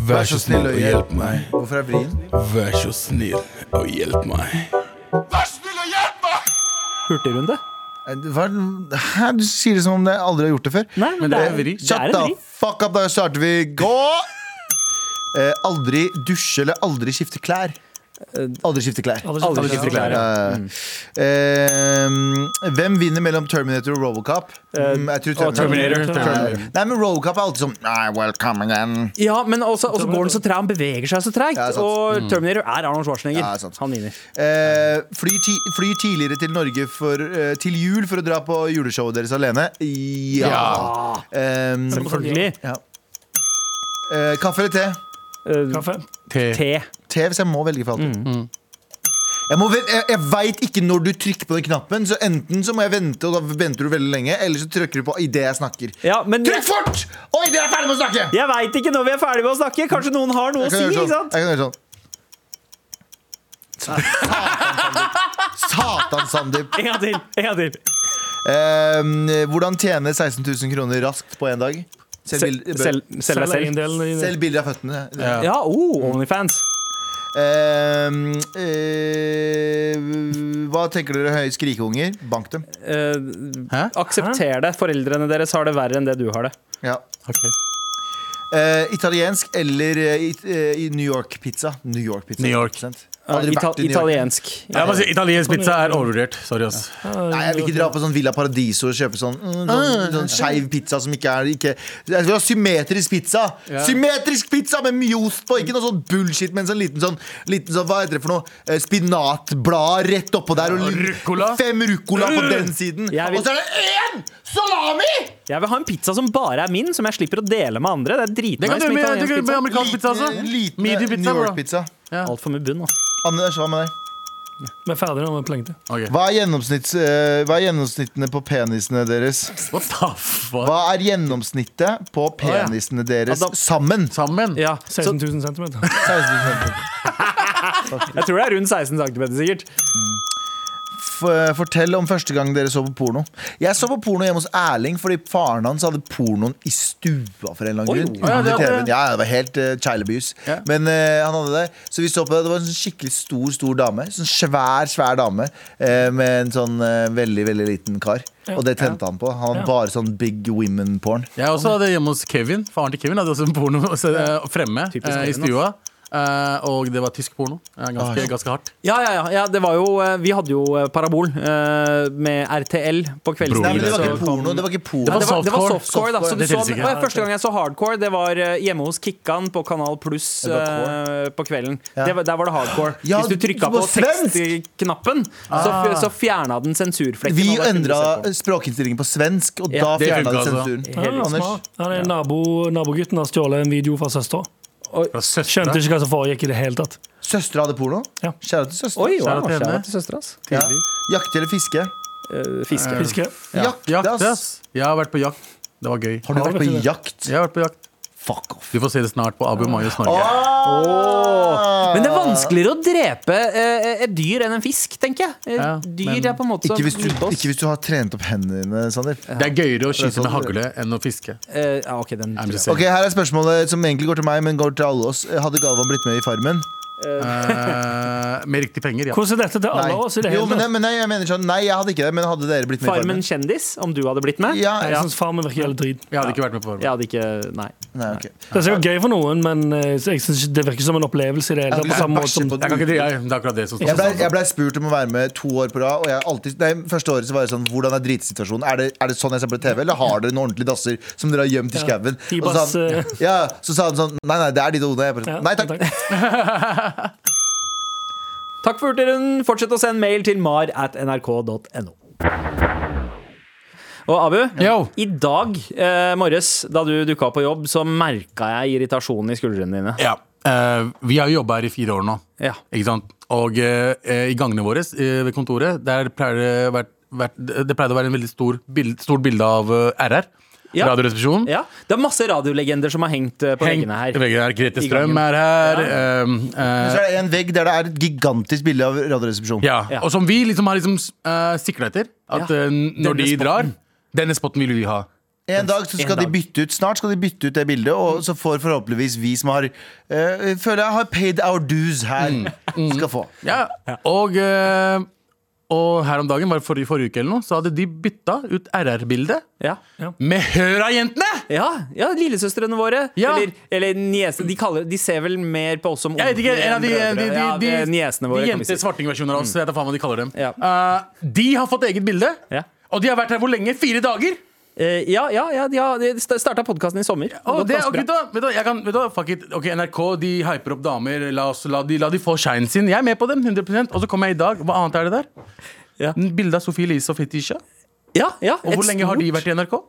I: Vær så snill og hjelp meg.
D: Hvorfor er vrien?
I: Vær så snill og hjelp meg.
B: Hurtigrunde?
D: Hva? Hæ? Du sier det som om jeg aldri har gjort det før.
B: men det er en vri. Det er
D: Shut
B: en
D: the
B: vri.
D: fuck up, da starter vi. Gå! Eh, aldri dusje eller aldri skifte klær. Aldri skifte klær.
B: Eh, Aldri skifte klær, ja. Mm.
D: Ja. Eh, hvem vinner mellom Terminator og Robocop? Mm, jeg tror
B: og Eh, Terminator. Terminator.
D: Nei, men Robocop er alltid sånn Nei, welcome again.
B: Ja, men også, også går den så treg, han beveger seg så tregt.
D: Ja, sant.
B: og
D: Mm.
B: Terminator er Arnold Schwarzenegger.
D: Ja, sant.
B: han vinner.
D: Eh, fly, ti fly tidligere til Norge for, eh, til jul for å dra på juleshowet deres alene? Ja. Eh,
B: Selvfølgelig.
D: Ja. Eh, kaffe eller te?
B: Eh,
F: Kaffe.
C: Te.
D: Te hvis jeg må velge for alltid. Jeg, må vel- jeg, jeg veit ikke når du trykker på den knappen, så enten så må jeg vente, og da venter du veldig lenge, eller så trykker du på idet jeg snakker.
B: Ja, men
D: Trykk fort! Oi, dere er ferdig med å snakke!
B: Jeg veit ikke når vi er ferdig med å snakke. Kanskje noen har noe å
D: Jeg
B: si?
D: kan gjøre
B: ikke
D: sånn.
B: sant?
D: Jeg kan gjøre sånn. Satan, Sandeep.
B: En gang til. En gang til.
D: Eh, hvordan tjene 16 000 kroner raskt på én dag? Selg
B: Sel-
D: bilder-
B: sel- selg deg Selg selv. eiendelen i det.
D: Selg bilder av føttene.
B: Ja, oh, Onlyfans.
D: Eh, eh, hva tenker dere høye skrikeunger? Bank dem.
B: Eh, aksepter det. Foreldrene deres har det verre enn det du har det.
D: Ja. Eh, italiensk eller eh, it, eh, i New York-pizza? New York-pizza.
C: New York.
D: 100%.
B: Ja,
D: Aldri
B: ita-
D: vært i New York.
B: italiensk.
C: Jeg må si, italiensk pizza er overvurdert. Sorry, ass.
D: Nei, Jeg vil ikke dra på sånn Villa Paradiso og kjøpe sånn, mm,
C: Ah.
D: sånn, sånn skeiv pizza som ikke er ikke, Jeg vil ha symmetrisk pizza!
C: Ja.
D: Symmetrisk pizza med mye ost på! Ikke noe sånn bullshit med en sånn liten sånn, liten sånn Hva heter det for noe? Eh, Spinatblad rett oppå der. Og litt-
C: rucola.
D: Fem ruccola på
C: Mm.
D: den siden.
B: Jeg vil-
D: Og så er det én salami!
B: Jeg vil ha en pizza som bare er min, som jeg slipper å dele med andre. Det er
C: Det kan
B: dritnice med
C: du med, det
B: italiensk
C: kan du med
B: pizza.
C: amerikansk pizza også.
D: Liten eh,
C: Medium pizza,
D: New
C: bro.
D: York-pizza.
B: Altfor mye bunn, altså.
D: Anders, hva med deg?
F: Vi er ferdige nå med plengte.
C: Ok.
D: Hva er, gjennomsnitts, eh, hva er gjennomsnittene på penisene deres?
C: What the fuck?
D: Hva er gjennomsnittet på penisene deres
B: Adam-
D: sammen?
C: Sammen?
B: Ja, så
F: 16 000 centimeter.
B: jeg tror det er rundt 16 cm, sikkert.
D: F- eh, Fortell om første gang dere så på porno. Jeg så på porno hjemme hos Erling fordi faren hans hadde pornoen i stua for en eller annen grunn.
C: ja,
D: Under
C: det hadde-
D: TV-en. ja, det var helt uh, child abuse.
C: Ja.
D: Men eh, han hadde det. Så vi så på det. Det var en sånn skikkelig stor, stor dame. Sånn svær, svær dame eh, med en sånn eh, veldig, veldig liten kar. Og det tente han på. Han hadde bare sånn big women-porn.
C: Jeg også hadde hjemme hos Kevin. Faren til Kevin hadde også en porno også, eh, fremme
B: Typisk
C: eh, i
B: Kevin,
C: stua. Eh, og det var tysk porno. Eh,
D: Ah,
C: ganske, ganske hardt.
B: Ja, ja, ja, ja. Det var jo, eh, vi hadde jo eh, Parabol eh, med RTL på kveldstid.
D: Nei, men det var
B: Så
D: ikke porno. Det var ikke porno.
C: Det
B: Nei, det, var, det var
C: Softcore.
B: softcore, da. Så du
C: Det
B: så,
C: teller ikke.
B: Å, ja, første gang jeg så hardcore, det var eh, hjemme hos Kikkan på Kanal Pluss
D: Det var core.
B: eh, på kvelden.
D: Ja.
B: Det var, der var det hardcore.
D: Ja,
B: Hvis du trykka
D: det
B: på
D: var svensk!
B: 60-knappen, så, f- så fjerna den sensurflekken.
D: Vi
B: og da kunne du
D: endra
B: se på.
D: språkinnstillingen på svensk, og
B: Ja,
D: da
C: det
D: fjerna
C: funka
D: de
C: altså.
D: sensuren.
F: Ja,
D: Anders?
F: smart. Ja, det er nabo, nabogutten har stjålet en video fra søstera. Skjønte ikke hva som foregikk i det hele tatt.
D: Mm. Søstera hadde porno?
F: Ja.
D: Kjære til søstera.
F: Oi, wow, Kjære til henne. kjære til
B: søstera, ass.
D: Ja. Jakte eller fiske?
B: fiske.
F: Fiske.
D: Ja.
C: Jakt,
D: Jakte,
C: ass.
D: ass.
C: Jeg har vært på jakt. Det var gøy.
D: Har du vært på jakt?
C: Jeg har vært på jakt. Fuck off. Du får se det snart på Abu Mayos Norge.
D: Ah.
B: Åh. Men det er vanskeligere å drepe eh, et dyr enn en fisk, tenker jeg. Eh,
C: Ja, men-
B: dyr er på en måte
D: Ikke hvis, du,
B: som Sånn rundt oss.
D: ikke hvis du har trent opp hendene, Sander.
C: Det er gøyere å
D: Det er
C: skyte
D: sånn
C: med hagle enn å fiske.
B: Eh, ja, ok, den
C: I'm just
D: Ok,
C: saying.
D: Her er spørsmålet som egentlig går til meg, men går til alle oss. Hadde Galvan blitt med i Farmen?
C: Eh, med riktige penger, ja.
F: Hvordan er dette til alle
D: Nei.
F: oss i det
D: Jo,
F: hele
D: men,
F: tatt?
D: nei, men nei, jeg mener sånn, nei, jeg hadde ikke det, men hadde dere blitt med
B: Farmen
D: i Farmen?
B: kjendis, om du hadde blitt med?
D: Ja, sånn-
F: Jeg syns farmen virker helt drit.
C: Jeg hadde ikke vært med på
B: Jeg
C: varmen.
B: hadde ikke Nei.
D: Nei, ok.
F: Det er sikkert gøy for noen, men eh, jeg synes ikke det virker som en opplevelse i det hele tatt. På samme måte som
C: Jeg kan ikke drive, jeg- det er akkurat det som
D: Jeg
C: står
D: blei
B: Sånn.
D: jeg ble spurt om å være med to år på rad. Og jeg alltid, nei, første året så var det sånn Hvordan er dritsituasjonen? Er det, er det sånn jeg ser på TV, eller har dere noen ordentlige dasser som dere har gjemt i skauen?
F: de
D: Og så sa
F: bass,
D: han- ja, så sa han sånn Nei, nei, det er de to hodene. Jeg bare
F: ja,
D: sånn, Nei takk.
B: Takk for hurtigrunden. Fortsett å sende mail til mar at nrk.no. Og Abu,
C: Yo.
B: i dag eh, morges da du dukka opp på jobb, så merka jeg irritasjonen i skuldrene dine.
C: Ja. Eh, vi har jo jobba her i fire år nå.
B: Ja.
C: Ikke sant? Og eh, eh, i gangene våre eh, ved kontoret, der pleier det, å vært, vært, det pleide å være en veldig stor bild, stort bilde av eh, RR.
B: Ja.
C: Radioresepsjonen.
B: Ja, Det er masse radiolegender som har hengt eh, på veggene her.
C: Veggene her. Grete
B: I
C: Strøm
B: gangen.
C: er her. eh, eh,
D: Så er det en vegg der det er et gigantisk bilde av Radioresepsjonen.
C: ja.
B: Ja.
C: Og som vi liksom har liksom, uh, sikla etter. At
B: Ja.
C: eh,
B: Denne
C: når de
B: spotten.
C: drar Denne spotten vil vi ha.
D: En dag så skal
B: En dag.
D: de bytte ut Snart skal de bytte ut det bildet, og så får forhåpentligvis vi som har eh, Føler jeg har paid our dues her,
C: Mm.
D: skal få.
C: Ja. Og, eh, og her om dagen, bare forrige, forrige uke eller noe, så hadde de bytta ut RR-bildet
B: Ja.
C: med Høra-jentene!
B: Ja, ja, lillesøstrene våre.
C: Ja.
B: Eller, eller niese. De, kaller, de ser vel mer på oss som
C: Jeg vet ikke,
B: onkler
C: en
B: enn
C: av de,
B: brødre.
C: de, de,
B: ja,
C: de,
B: det er niesene våre,
C: de
B: kan vi
C: jente
B: si. Mm.
C: svartingversjoner av oss. Jeg vet da faen hva de kaller dem.
B: Ja.
C: Eh, de har fått eget bilde,
B: Ja.
C: og de har vært her hvor lenge? Fire dager!
B: Eh, ja, ja, ja, de har- de starta podkasten i sommer.
C: Og
B: Gått
C: det,
B: ganske bra.
C: ok, da, vet du, hva, jeg kan, vet du, hva, fuck it. Ok, NRK de hyper opp damer. La, oss, la, de, la de få shinen sin. Jeg er med på dem. 100% Og så kommer jeg i dag. Hva annet er det der?
B: Ja.
C: Bilde av Sophie Elise og Fetisha.
B: ja, ja,
C: Og hvor
B: et
C: lenge har de
B: stort-
C: vært i NRK?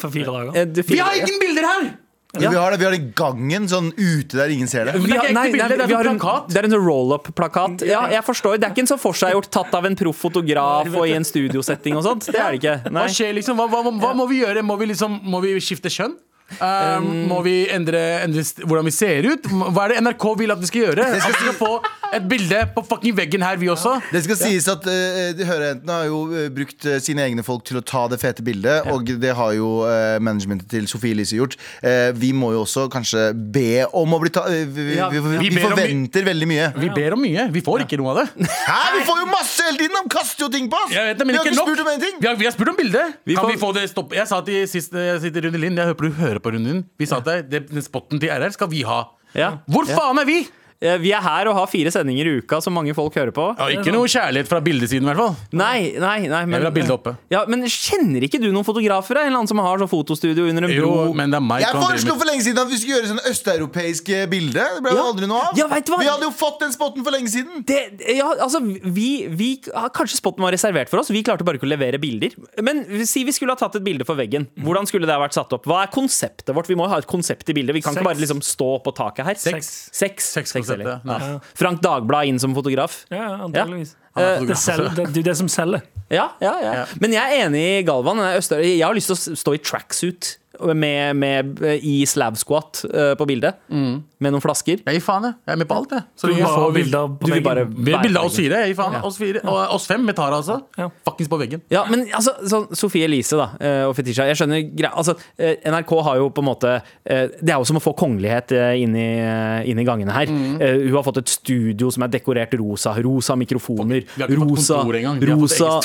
F: for fire dager.
B: Eh, det-
C: Vi har ikke bilder her!
B: Ja.
D: Vi har det vi har det i gangen, sånn ute der ingen ser det.
C: Men det er ikke
B: Ja,
C: ekte
B: nei, nei,
C: bilder, det er
B: vi
C: en
B: har en-
C: plakat.
B: Det er en sånn roll-up-plakat. Ja, jeg forstår. Det er ikke en så forseggjort tatt av en proff fotograf og i en studiosetting og sånt. Det er det ikke.
C: Hva
B: Nei.
C: skjer liksom? Hva, hva, hva, hva må vi gjøre? Må vi, liksom, må vi skifte kjønn? Um, må vi endre, endre st- hvordan vi ser ut? Hva er det NRK vil at vi skal gjøre? At vi skal få et bilde på fucking veggen her, vi også?
D: Det skal sies at eh, de hørejentene har jo eh, brukt eh, sine egne folk til å ta det fete bildet, og det har jo eh, managementet til Sofie Elise gjort. Eh, vi må jo også kanskje be om å bli ta... eh, vi, vi,
B: Ja,
D: vi, vi,
C: vi ber om-
D: forventer veldig mye.
C: Vi ber om mye. Vi får ikke noe av det.
D: Hæ, vi får jo masse hele tiden! De kaster jo ting på oss!
C: Jeg vet det, men
D: vi har
C: ikke
D: ikke
C: nok.
D: spurt om en ting!
C: Vi har, vi har spurt om bildet.
B: Vi
C: kan
B: får-
C: vi få det stopp? Jeg sa til sist eh, jeg sitter Rune Lind, jeg håper du hører på Rune Lind. Vi sa til deg det- den spotten til RR skal vi ha.
B: Ja.
C: Hvor faen er vi?
B: Eh, Vi er her og har fire sendinger i uka som mange folk hører på.
C: Ja, ikke noe kjærlighet fra bildesiden, i hvert fall.
B: Nei, nei, nei men,
C: Jeg vil ha bildet oppe.
B: Ja, men kjenner ikke du noen fotografer? da? En eller annen som har sånn fotostudio under en bro?
C: Jo, men det er meg.
D: Jeg
C: som driver med-
D: foreslo for lenge siden at vi skulle gjøre sånn østeuropeisk eh, bilde. Det ble jo
B: Ja.
D: aldri noe av.
B: Ja, vet du hva?
D: Vi hadde jo fått den spotten for lenge siden.
B: det, ja, altså, vi, vi, ah, kanskje spotten var reservert for oss. Vi klarte bare ikke å levere bilder. Men si vi skulle ha tatt et bilde for veggen.
C: Mm.
B: Hvordan skulle det ha vært satt opp? Hva er konseptet vårt? Vi må jo ha et konsept i bildet. Vi kan
F: Sex.
B: ikke bare liksom stå på taket her.
C: Sex.
B: Sex.
C: Sex
B: Sex,
C: konseptet,
B: eller?
C: nei.
B: Ja. Frank Dagblad inn som fotograf.
F: Ja, antageligvis.
C: Han er
B: Eh,
F: Det,
C: fotograf.
F: selger, det, det er det som selger.
B: Ja, ja, ja. Men jeg er enig i Galvan. Jeg er østø- Jeg har lyst til å s- stå i tracksuit med, med, eh, i slab squat eh, på bildet. Med noen flasker.
C: Jeg gir faen, jeg. Jeg er med på alt, jeg. Så
F: Du
C: lenge
F: vil
C: jeg
F: bare ha
C: får bilde
F: bilder på
B: Du vil
F: veggen.
B: bare
C: Vi har bilde av oss fire. Jeg gir faen.
B: Ja.
C: Oss fire. Og oss fem med Tara, altså.
F: Ja.
C: Fuckings på veggen.
B: Ja, men altså, sånn, Sofie Elise da, eh, og Fetisha Jeg skjønner, gre- altså, eh, NRK har jo på en måte eh, Det er jo som å få kongelighet eh, inn i, eh, inn i gangene her
C: Mm.
B: Eh, Hun har fått et studio som er dekorert rosa Rosa mikrofoner
C: Vi har ikke fått
B: Rosa,
C: kontor engang, vi har fått
B: rosa,
C: eget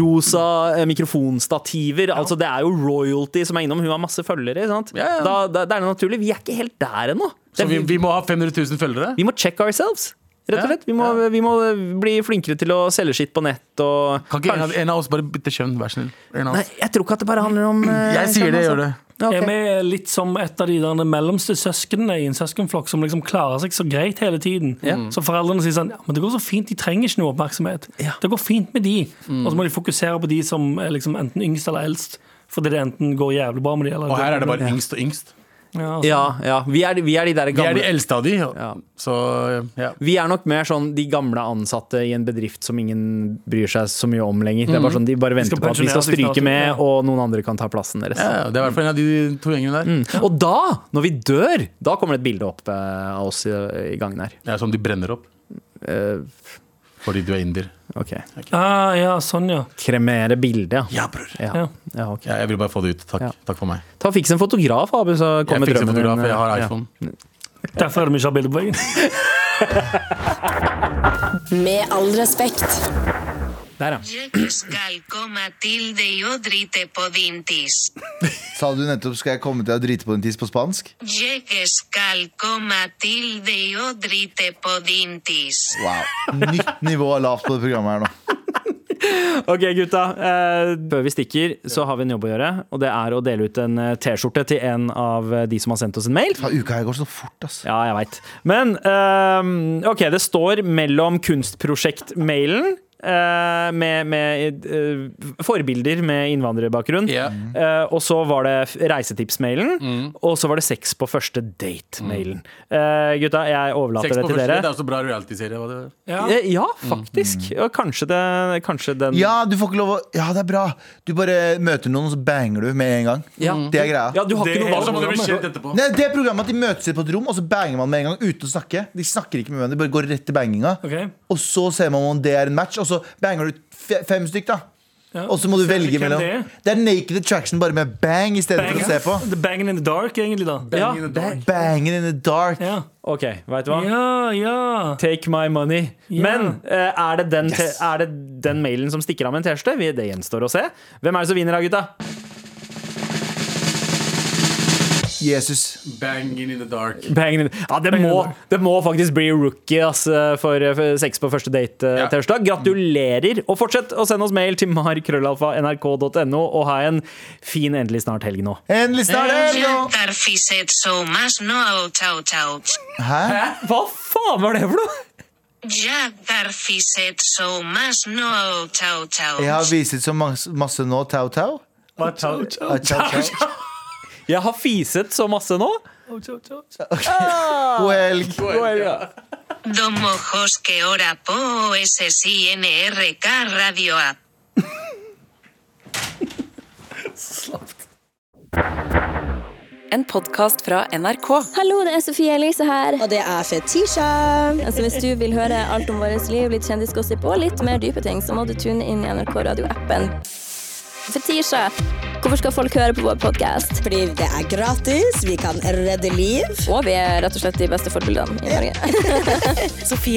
B: rosa eh, mikrofonstativer Altså det er jo royalty som er innom Hun har masse følgere, sant?
C: Ja, ja.
B: Da, da, da er det naturlig, vi er ikke helt der ennå
C: Så
B: Det-
C: vi, vi må ha 500 000 følgere.
B: vi må check ourselves Rett og
C: Ja,
B: slett, vi må, vi må bli flinkere til å selge skitt på nett og,
C: Kan ikke en
B: Kanskje-
C: av, en av oss bare bytte kjønn, vær snill? En av
B: Nei,
C: oss.
B: jeg tror ikke at det bare handler om eh,
C: Jeg sier det, jeg gjør det.
B: Ja, ok.
F: Er vi litt som et av de der mellomste søsknene i en søskenflokk som liksom klarer seg så greit hele tiden? Så foreldrene sier sånn Ja, men det går så fint, de trenger ikke noe oppmerksomhet. Det går fint med de. Og så må de fokusere på de som er liksom enten yngst eller eldst. Fordi det enten går jævlig bra med de eller
C: Og her er det bare yngst og yngst.
F: Ja, altså.
B: Ja, ja. Vi, er, vi er de der
C: Vi
B: gamle
C: er de eldste av de,
B: Ja.
C: så ja.
B: Vi er nok mer sånn de gamle ansatte i en bedrift som ingen bryr seg så mye om lenger. Det er bare sånn, De bare venter
F: skal
B: på at vi skal
F: pensjonere oss,
B: stryke
F: ikke
B: med,
F: sant?
B: og noen andre kan ta plassen deres.
C: Ja, Det er i hvert fall en av de to gjengene der.
B: Mm. Og da, når vi dør, da kommer det et bilde opp eh, av oss i, i gangen her.
C: Ja, Som de brenner opp
B: Eh,
C: fordi du er inder.
B: ok.
F: Ah, ja, sånn, ja.
B: Kremere bildet, ja.
C: Ja, bror.
B: Ja.
F: Ja.
B: ja, ok.
C: Ja, jeg ville bare få det ut. Takk,
B: Ja.
C: takk for meg.
B: Ta og Fiks en fotograf, Abu, så
C: Jeg
B: kommer
C: fikser
B: drømmen
C: fotograf,
B: din, eh,
C: jeg har
B: ja.
C: iPhone.
F: Derfor er det mye av bildet på veggen.
G: Med all respekt.
B: Der, ja.
D: Sa du nettopp 'skal jeg komme til å drite på din tiss' på spansk? Wow. Nytt nivå er lavt på det programmet her nå.
B: Ok, gutta. Eh, før vi stikker, så har vi en jobb å gjøre. Og det er å dele ut en eh, T-skjorte til en av eh, de som har sendt oss en mail.
D: Ta uka her går så fort, ass.
B: Ja, jeg veit. Men eh, OK, det står mellom kunstprosjekt-mailen eh, med, med eh, forbilder med innvandrerbakgrunn.
C: Ja. Mm.
B: Eh, og så var det f- reisetipsmailen. Og så var det sex på første date-mailen. Eh, gutta, jeg overlater
C: Sex
B: det
C: på
B: til
C: første
B: dere.
C: date Mm. er også bra reality-serie. hva det-
F: Ja.
B: Eh, Ja, faktisk. Og kanskje, det, kanskje den
D: Ja, du får ikke lov å Ja, det er bra. Du bare møter noen, og så banger du med en gang. Mm. Det er greia.
B: Ja, du har
F: Det
B: ikke noe
F: er
B: valg.
F: så-
D: Nei, det er programmet at De møtes på et rom, og så banger man med en gang uten å snakke. De snakker ikke med hverandre, de bare går rett til banginga.
F: Ok.
D: Og så ser man om det er en match, og så banger du fe- fem stykk, da. Og så må du
F: Ser vi
D: velge
F: hvem
D: mellom.
F: det er?
D: Det er naked attraction, bare med bang istedenfor å se på.
F: The banging in the dark, egentlig, da.
B: Ja,
C: in the
B: det-
C: dark.
D: Banging in the dark.
F: Ja,
B: OK, veit du hva?
F: ja. ja.
B: Take my money.
F: Ja.
B: Men eh, er, det den te- er det den mailen som stikker av med en T-skjorte? Vi- Det gjenstår å se. Hvem er det som vinner da, gutta?
D: Jesus.
C: Banging in the dark.
B: Bang. Ja, det må, det må faktisk bli rookie ass, eh, for, for sex på første
C: Ja.
B: date-T-skjorta. Gratulerer! Og fortsett å sende oss mail til markrøllalfa.nrk.no, og ha en fin endelig snart helg nå.
D: Endelig snart helg! nå. Hæ?
B: Hva faen var det for noe?!
D: Jeg har viset så masse, masse nå, Tau Tau.
F: Hva, ciao, ciao,
D: Ah, Tau Tau.
B: Jeg har fiset så masse nå.
F: ciao, ciao.
D: God helg.
E: En podkast fra NRK.
K: Hallo, det er Sofie Elise her.
G: Og det er Fetisha.
K: Altså, hvis du vil høre alt om vårt liv, litt kjendisgossip og litt mer dype ting, så må du tune inn i NRK Radio-appen. Fetisha, hvorfor skal folk høre på vår podkast?
G: Fordi det er gratis, vi kan redde liv.
K: Og vi er rett og slett de beste forbildene i Norge.
E: Sofie